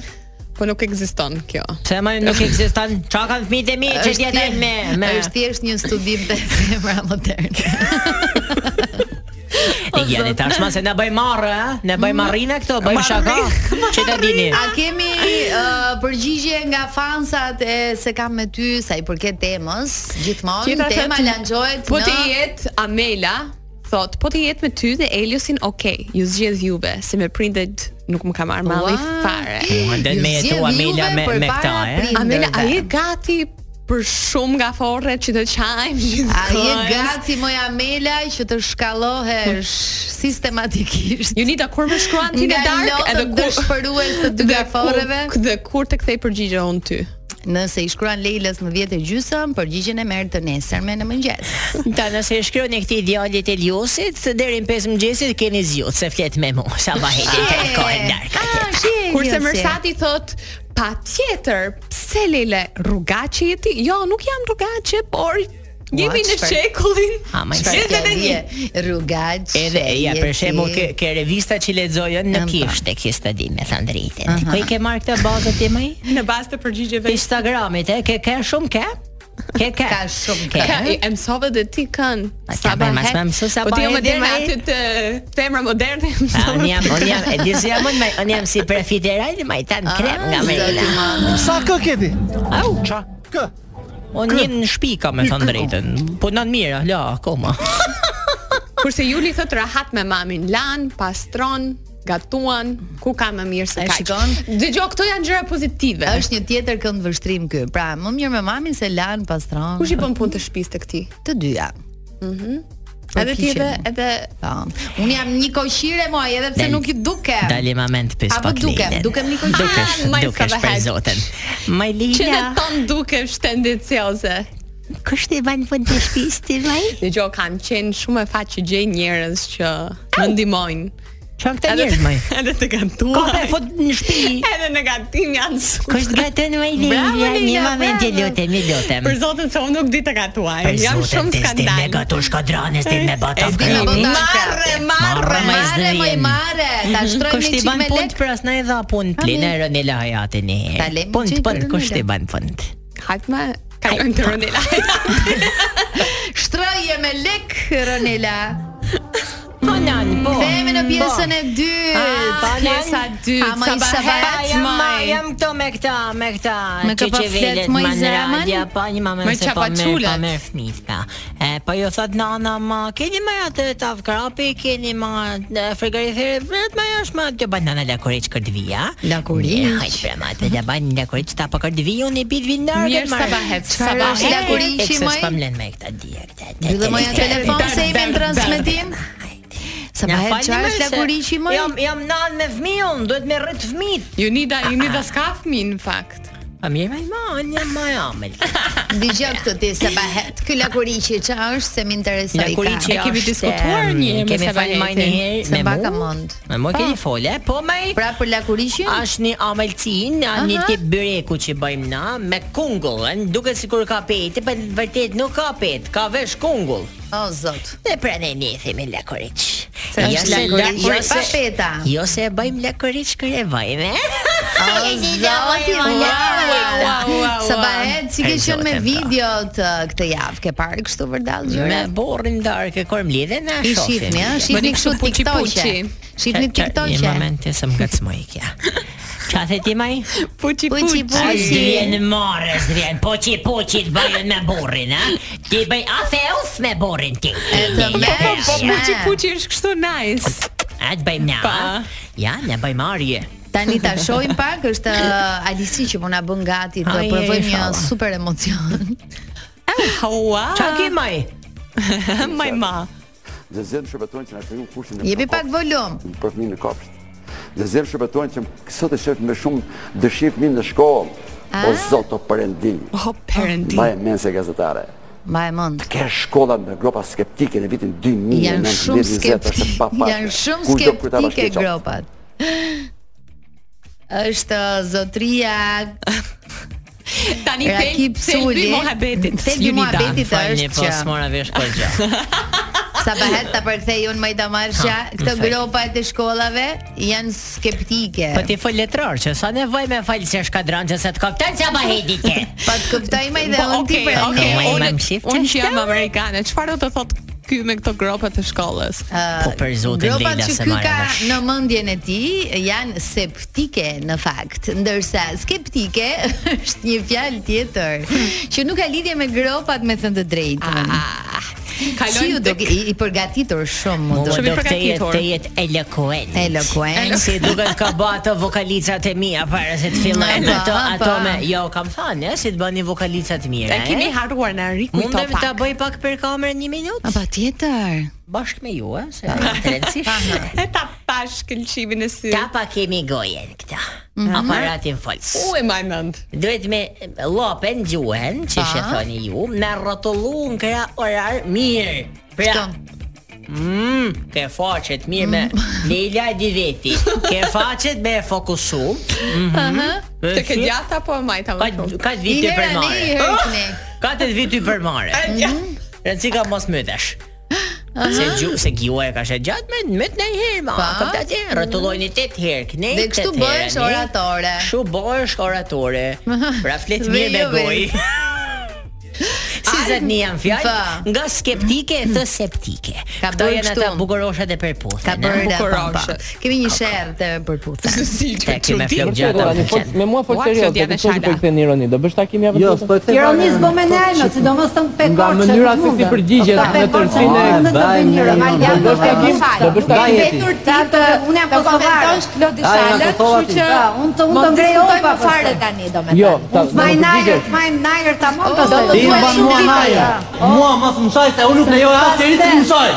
Speaker 8: Po nuk ekziston kjo.
Speaker 9: Pse më
Speaker 7: [laughs]
Speaker 9: nuk ekziston? Çka kanë fëmijët e mi që
Speaker 7: Është
Speaker 9: jetojnë
Speaker 7: thjesht-
Speaker 9: me me
Speaker 7: Është thjesht një studim [laughs] pra te femra moderne.
Speaker 9: jeni tashmë se na bëj marrë, ë? Ne bëj marrina këto, bëjmë
Speaker 7: [laughs]
Speaker 9: shaka. Që ta dini.
Speaker 7: A kemi uh, përgjigje nga fansat e se kam me ty sa i përket temës? Gjithmonë
Speaker 8: Tjetra
Speaker 7: tema
Speaker 8: thotë,
Speaker 7: lançohet
Speaker 8: Po të
Speaker 7: në
Speaker 8: jetë Amela, thot, po të jetë me ty dhe Eliosin, okay, ju zgjedh juve, se me prindet nuk më ka marrë malli
Speaker 7: Ua.
Speaker 8: fare.
Speaker 9: Mua del
Speaker 7: Ju
Speaker 9: me jetu
Speaker 7: zgjedh
Speaker 9: Amela
Speaker 7: juve
Speaker 9: me me
Speaker 7: përpara
Speaker 9: këta, eh? e?
Speaker 7: prindërve.
Speaker 8: Amela, a je gati për shumë nga forret që të qajmë gjithë
Speaker 7: A je
Speaker 8: kohës?
Speaker 7: gati moj Amela që të shkallohesh sistematikisht?
Speaker 8: Ju nita kur më shkruan Jo, ti në
Speaker 7: Nga
Speaker 8: dark
Speaker 7: lotët
Speaker 8: edhe kur
Speaker 7: dëshpërues të dy
Speaker 8: Dhe
Speaker 7: gaforeve?
Speaker 8: kur- Dhe kur të kthej përgjigje on ty.
Speaker 7: Nëse i shkruan Leilës në 10 e gjysëm, përgjigjen e merr të nesërme në mëngjes.
Speaker 9: Ta nëse e shkruani këtij djalit Eliosit deri në 5 mëngjesit keni zgjut se flet me mua. Sa vaheti të kohë darkë.
Speaker 7: Ah, shije.
Speaker 8: Kurse Mërsati thot, pa tjetër, pse Lele, rrugaqe jeti? Jo, nuk jam rrugaqe, por jemi në
Speaker 7: çfarë-
Speaker 8: shekullin.
Speaker 9: Ama i
Speaker 8: Çfarë
Speaker 9: shekullin.
Speaker 8: dhe një.
Speaker 7: rrugaç.
Speaker 9: Edhe ja për shembull ke, ke revista që lexojën në
Speaker 7: Ëm, po.
Speaker 9: kish tek studim me thënë drejtën. Ku i ke marrë këtë bazë ti më?
Speaker 8: Në bazë të përgjigjeve.
Speaker 9: Instagramit, e ke ke shumë ke? Ke ke.
Speaker 7: Ka shumë ke.
Speaker 8: Ka, e mësove dhe ti kën
Speaker 9: A ka bërë mas me mësu sa
Speaker 8: Po ti
Speaker 9: bëhet
Speaker 8: jo më dirë
Speaker 9: dhe ai?
Speaker 8: aty të femra moderne
Speaker 9: A, Ah, Unë jam, unë jam, e di se jam unë, unë jam si prefiteraj, ma i tanë
Speaker 7: Ah,
Speaker 9: krem nga Merila.
Speaker 3: Sa kë keti?
Speaker 9: Au,
Speaker 3: Qa? Kë?
Speaker 9: unë jem në shtëpi ka me thënë drejtën. Po nën mirë, la, akoma.
Speaker 8: Kurse Juli thot rahat me mamin lan, pastron, gatuan, ku ka më mirë se
Speaker 7: E
Speaker 8: kaq.
Speaker 7: shikon?
Speaker 8: Dëgjoj, këto janë gjëra pozitive.
Speaker 7: Është një tjetër kënd vështrim ky. Pra, më mirë me mamin se lan pastron.
Speaker 8: Kush i bën punë të shtëpisë të këtij?
Speaker 7: të dyja. Mhm.
Speaker 8: Edhe ti edhe edhe
Speaker 7: Po. Unë jam një koqire moj, edhe pse
Speaker 9: Dal-
Speaker 7: nuk i po dukem.
Speaker 9: Dali ma mend pis
Speaker 7: Apo
Speaker 9: pak
Speaker 7: dukem,
Speaker 9: Lilën.
Speaker 7: dukem Nikol Qysh.
Speaker 9: Dukesh,
Speaker 8: Ah, maj,
Speaker 9: dukesh
Speaker 8: sa
Speaker 9: për
Speaker 8: bëhet.
Speaker 9: zoten. Maj
Speaker 8: që
Speaker 9: Lila,
Speaker 8: dhe ton dukesh tendencioze.
Speaker 4: Kështë e banë për të shpisë të vaj?
Speaker 8: Dëgjoj, kanë qenë shumë e fat që gjej njerëz që më ndihmojnë.
Speaker 9: që këta njerëz maj?
Speaker 8: [laughs] edhe të
Speaker 9: Ka me
Speaker 8: gatuar.
Speaker 9: fot në
Speaker 7: [laughs]
Speaker 9: shtëpi.
Speaker 8: Edhe në gatim janë super.
Speaker 4: Kështë gatën vaj
Speaker 8: Bravo,
Speaker 4: Lila, një
Speaker 8: Lila,
Speaker 4: moment e
Speaker 8: bravo.
Speaker 4: lutem, e lutem.
Speaker 8: Për zotin se unë nuk di të gatuaj.
Speaker 9: Për
Speaker 8: Jam
Speaker 9: zoten,
Speaker 8: shumë
Speaker 9: tes din me
Speaker 8: skandal.
Speaker 9: gatush kadranes, din me bataf
Speaker 7: din me
Speaker 9: kremi.
Speaker 7: botash.
Speaker 8: Marre, marre.
Speaker 9: Marre, ma-
Speaker 7: Mare, moj
Speaker 9: Majzrin.
Speaker 7: mare, ta shtroj me
Speaker 9: Kush i ban
Speaker 7: çime
Speaker 9: punë
Speaker 7: lek.
Speaker 9: për asnjë dha punë plenerën e lahajatin e.
Speaker 7: Ta lemi
Speaker 9: Punë,
Speaker 7: qenë
Speaker 9: punë,
Speaker 7: për
Speaker 9: kush i
Speaker 7: Lila.
Speaker 9: ban punë?
Speaker 8: Hajt me kalojmë të rëndela.
Speaker 9: [laughs]
Speaker 7: Shtroje me lek Ronela.
Speaker 8: Po banan, po.
Speaker 7: Kthehemi në pjesën e dytë.
Speaker 8: Ah, pjesa e dytë.
Speaker 7: Ama i
Speaker 8: Sabahat,
Speaker 7: sabahat
Speaker 9: jam,
Speaker 7: maj.
Speaker 9: jam këto me këta, me këta.
Speaker 7: Me kë po flet,
Speaker 9: qeqevelet,
Speaker 7: moj,
Speaker 9: man
Speaker 7: zemën?
Speaker 9: radja, pa po, një mamë
Speaker 8: Me
Speaker 9: se pa merr, pa
Speaker 8: qapaçulet.
Speaker 9: merr fëmijë. pa. E po ju thot nana, ma keni më atë taf krapi, keni më frigorifer, vet më është më atë banana lakuriç kërdvia.
Speaker 7: Lakuriç.
Speaker 9: Ja, hajt pra ma të laban lakuriç ta pa kërdvi unë i bit vinar.
Speaker 8: Mirë sabahet, sabahet.
Speaker 7: lakuriçi, moj?
Speaker 9: S'pam lën me këta djegtë.
Speaker 7: Mbyllë moja telefon se i vjen
Speaker 8: Dar, dar,
Speaker 7: transmetim. Sabahat çfarë është lakuriçi më?
Speaker 9: Jam jam nan me fëmijën, duhet me rrit fëmijët.
Speaker 8: Junida, Junida s'ka fëmin në fakt.
Speaker 9: A mirë më iman, jam më [laughs] amel.
Speaker 7: Dëgjoj këtë ti sabahet. Ky lakuriçi çfarë është se më interesoi. ka.
Speaker 9: Lakuriçi
Speaker 8: E kemi
Speaker 9: është,
Speaker 8: diskutuar
Speaker 9: em,
Speaker 8: një herë me
Speaker 9: Kemi falë
Speaker 8: Sabahetin.
Speaker 9: më një herë
Speaker 7: Se
Speaker 9: me
Speaker 7: baka
Speaker 9: mu.
Speaker 7: mund.
Speaker 9: Me mu keni fole, po më
Speaker 7: Pra për lakuriçin?
Speaker 9: është një amelcin, a një
Speaker 7: Aha.
Speaker 9: tip byreku që bëjmë na me kungullën, duket sikur ka peti, por në vërtet nuk ka pet, ka vesh kungull.
Speaker 7: O zot.
Speaker 9: Dhe pra ne njethi me lakoriç.
Speaker 7: Se
Speaker 9: Jo
Speaker 7: është
Speaker 9: se
Speaker 7: lakuriç
Speaker 9: la- jo se-
Speaker 7: pa peta.
Speaker 9: Jo se e bëjmë lakoriç kërë e eh? bëjmë, e? [laughs]
Speaker 7: O zoti.
Speaker 8: Wow, wow, wow, wow.
Speaker 7: Sabahet si ke
Speaker 9: Ai,
Speaker 7: qenë me
Speaker 9: zotem, pra.
Speaker 7: videot ë, këtë javë ke parë kështu për dallë gjëra.
Speaker 9: Me borrin darkë, kërë mlidhe na
Speaker 7: I
Speaker 9: shofim.
Speaker 7: shihni, ha?
Speaker 8: Bëni
Speaker 7: Shihni
Speaker 8: kështu
Speaker 7: kështu
Speaker 8: puçi,
Speaker 7: TikToqe.
Speaker 8: puçi.
Speaker 7: Shihni
Speaker 9: Një
Speaker 7: TikToqe.
Speaker 9: moment të se më gëcmoj
Speaker 7: [laughs]
Speaker 9: kja. Qa the ti maj?
Speaker 7: Puçi,
Speaker 8: Puçi puçi.
Speaker 9: A
Speaker 7: puçi.
Speaker 9: së vjen marës, vjen Po poqi poqi të bëjën me borrin, ha? Ti bëj afe uf me borrin ti.
Speaker 7: E të
Speaker 8: Po, po,
Speaker 7: mersh.
Speaker 8: po, puçi puçi është kështu nice.
Speaker 7: po.
Speaker 9: A të bëjmë na, ha?
Speaker 8: Pa.
Speaker 9: Ja, ne bëjmë arje.
Speaker 7: Tani ta shohim pak, është ë, Alisi që po na bën gati të
Speaker 9: Ai,
Speaker 7: provojmë një
Speaker 9: inshallah.
Speaker 7: super emocion.
Speaker 8: Wow.
Speaker 9: Qa ki maj?
Speaker 8: Maj ma.
Speaker 11: Zezerë shërbëtojnë që na kriju kushtin e
Speaker 7: Jepi
Speaker 11: përkop-
Speaker 7: pak volum.
Speaker 11: për fëmijën e kopsht. Zezerë shërbëtojnë që sot e shef me shumë dëshirë fëmijën në shkollë.
Speaker 7: Ah.
Speaker 11: O zot o perëndi,
Speaker 8: Oh, parenting.
Speaker 11: ma e mense gazetare.
Speaker 7: Ma e mend.
Speaker 11: Ke shkolla me gropa skeptike në vitin 2000
Speaker 7: Janë shumë skeptike. Janë shumë skeptike gropat. Është zotria
Speaker 8: Tani
Speaker 7: Rakip
Speaker 8: tel selbi
Speaker 7: Suli.
Speaker 8: mohabetit.
Speaker 7: Thelbi
Speaker 8: Unida.
Speaker 7: mohabetit. Ti thash
Speaker 9: Falni, po
Speaker 7: që-
Speaker 9: s'mora vesh kërë
Speaker 7: [laughs]
Speaker 9: gjë.
Speaker 7: Sabahet ta përkthej unë Majda Marsha,
Speaker 9: Ha,
Speaker 7: këto
Speaker 9: më fal.
Speaker 7: gropat e shkollave janë skeptike.
Speaker 9: Po ti fol letrar që sa nevoj me falë se shkadran që se të kapten që ma hedi ke.
Speaker 7: Pa të kuptoj Majda
Speaker 8: Po,
Speaker 7: unë ti
Speaker 8: okay,
Speaker 7: për
Speaker 8: okay,
Speaker 9: Ma-
Speaker 8: unë
Speaker 9: ma më shifte
Speaker 8: unë që jam
Speaker 9: shkallë?
Speaker 8: amerikane. Çfarë do të thotë ky me këto gropa të shkollës?
Speaker 9: Po për zotin
Speaker 7: Gropat
Speaker 9: Leila
Speaker 7: që
Speaker 9: se
Speaker 7: ky
Speaker 9: marrë
Speaker 7: ka
Speaker 9: vesh.
Speaker 7: në mendjen e tij janë septike në fakt, ndërsa skeptike [laughs] është një fjalë tjetër që nuk ka lidhje me gropat me thënë të drejtën. Si ju
Speaker 8: Kalojmë
Speaker 7: duke
Speaker 8: Ah, tek
Speaker 7: i, i përgatitur shumë më
Speaker 9: Mua
Speaker 7: duket.
Speaker 8: Shumë i
Speaker 9: do të jetë
Speaker 8: përgatitur.
Speaker 9: të jetë eloquent.
Speaker 7: Eloquent.
Speaker 9: Si duket ka bë ato vokalicat e mia para se të fillojnë
Speaker 7: Pa,
Speaker 9: ato
Speaker 7: pa.
Speaker 9: ato me jo kam thënë eh, si të bëni vokalicat mira.
Speaker 8: E kemi
Speaker 9: eh.
Speaker 8: harruar na rikujto
Speaker 9: Mundem ta
Speaker 8: pak.
Speaker 9: bëj pak për kamerën një minutë
Speaker 7: A pa tjetër.
Speaker 9: bashkë me ju, eh, se është rëndësishme.
Speaker 8: E ta pash këlqimin e sy.
Speaker 9: Ta pa kemi gojen këta. Aparatin fols.
Speaker 8: U e maj mend.
Speaker 9: Duhet me llopen gjuhen, që she thoni ju, me rrotullu në kra orar mirë. Pra,
Speaker 7: Kto?
Speaker 9: Mm, ke faqet mirë me
Speaker 8: Mm. [laughs]
Speaker 9: Leila di veti. Ke faqet me fokusu.
Speaker 8: [laughs] Të ke djata apo e majta
Speaker 9: Ka
Speaker 8: më shumë?
Speaker 9: ka
Speaker 7: Një
Speaker 9: vite për
Speaker 7: herë ne, një
Speaker 9: mare.
Speaker 7: herë ne.
Speaker 9: Ka të viti për mare. Rëndësi ka mos mëtesh. Se gju, se gjua e ka shë gjatë me mëtë në herë, ma,
Speaker 7: Pa.
Speaker 9: këpta që rëtullojnë i tëtë herë, kënej
Speaker 7: Dhe kështu bëhesh oratore.
Speaker 9: Kështu bëhesh
Speaker 7: [laughs]
Speaker 9: oratore, pra fletë
Speaker 7: Dhe
Speaker 9: mirë me
Speaker 7: jo
Speaker 9: gojë. [laughs] Si zëtë një janë fjalë,
Speaker 7: Pa.
Speaker 9: nga skeptike e të septike.
Speaker 7: Ka
Speaker 9: Këto
Speaker 7: bërë
Speaker 9: janë
Speaker 7: kështu.
Speaker 9: ata bukuroshat e përputhe.
Speaker 7: Ka bërë
Speaker 8: bukuroshe.
Speaker 7: pa, pa. Kemi një sherr të përputhta.
Speaker 8: Si
Speaker 9: Te
Speaker 8: që
Speaker 9: kime flok
Speaker 5: Po,
Speaker 9: gjata
Speaker 5: tani,
Speaker 9: më
Speaker 5: fol-
Speaker 9: qenë.
Speaker 5: me mua fol
Speaker 8: Ua,
Speaker 5: serioz,
Speaker 8: Claudia
Speaker 5: do të thosh
Speaker 8: Neshala.
Speaker 5: po i kthen ironi, do bësh takim javën
Speaker 3: Jo,
Speaker 5: tjetër?
Speaker 3: po të
Speaker 2: Ironisë bo me nejnë, sidomos të
Speaker 5: Nga
Speaker 2: pekorqe.
Speaker 5: mënyra se si përgjigjet në tërësinë e-
Speaker 2: Në të bënjërë,
Speaker 12: po,
Speaker 2: ma
Speaker 5: Do bësh takim, do bësh takim.
Speaker 2: Tatë,
Speaker 9: po-
Speaker 2: unë jam kosovarë.
Speaker 3: Ai janë Kosova ti.
Speaker 2: Pra, Unë të unë të ngrejoj pa fare tani.
Speaker 5: Jo, ta do
Speaker 2: Të majnë najër, të majnë najër të mund
Speaker 9: po
Speaker 2: të të
Speaker 3: Ti më ban mua naja. Mua mos më shaj se unë nuk lejoj asnjëri të më shaj.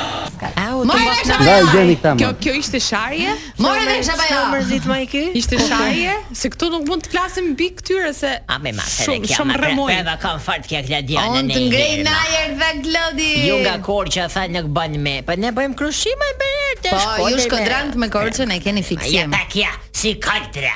Speaker 7: Morë vesh apo
Speaker 3: Nga i
Speaker 7: jo?
Speaker 3: gjeni këta
Speaker 8: Kjo
Speaker 3: më.
Speaker 8: kjo ishte sharje?
Speaker 7: Morë vesh apo jo?
Speaker 9: mërzit më i ky?
Speaker 8: [laughs] Ishte sharje? Se këtu nuk mund të flasim mbi këtyre se
Speaker 9: A me masë edhe
Speaker 8: shumë
Speaker 9: kja,
Speaker 8: shumë
Speaker 9: ma pre-
Speaker 8: rrëmoj.
Speaker 9: preva kam fart kja kja djane
Speaker 7: Unë
Speaker 9: në
Speaker 7: të
Speaker 9: i
Speaker 7: ngrej
Speaker 9: herë, ma.
Speaker 7: najër dhe Glodi.
Speaker 9: Ju nga korë që tha nuk bën me Po ne bëjmë krushime e bërë të
Speaker 7: Po,
Speaker 9: shkodër
Speaker 7: ju
Speaker 9: me-
Speaker 7: shkodrant me korçën e keni
Speaker 9: Ja
Speaker 7: fiksim.
Speaker 9: ta kja, si kaltra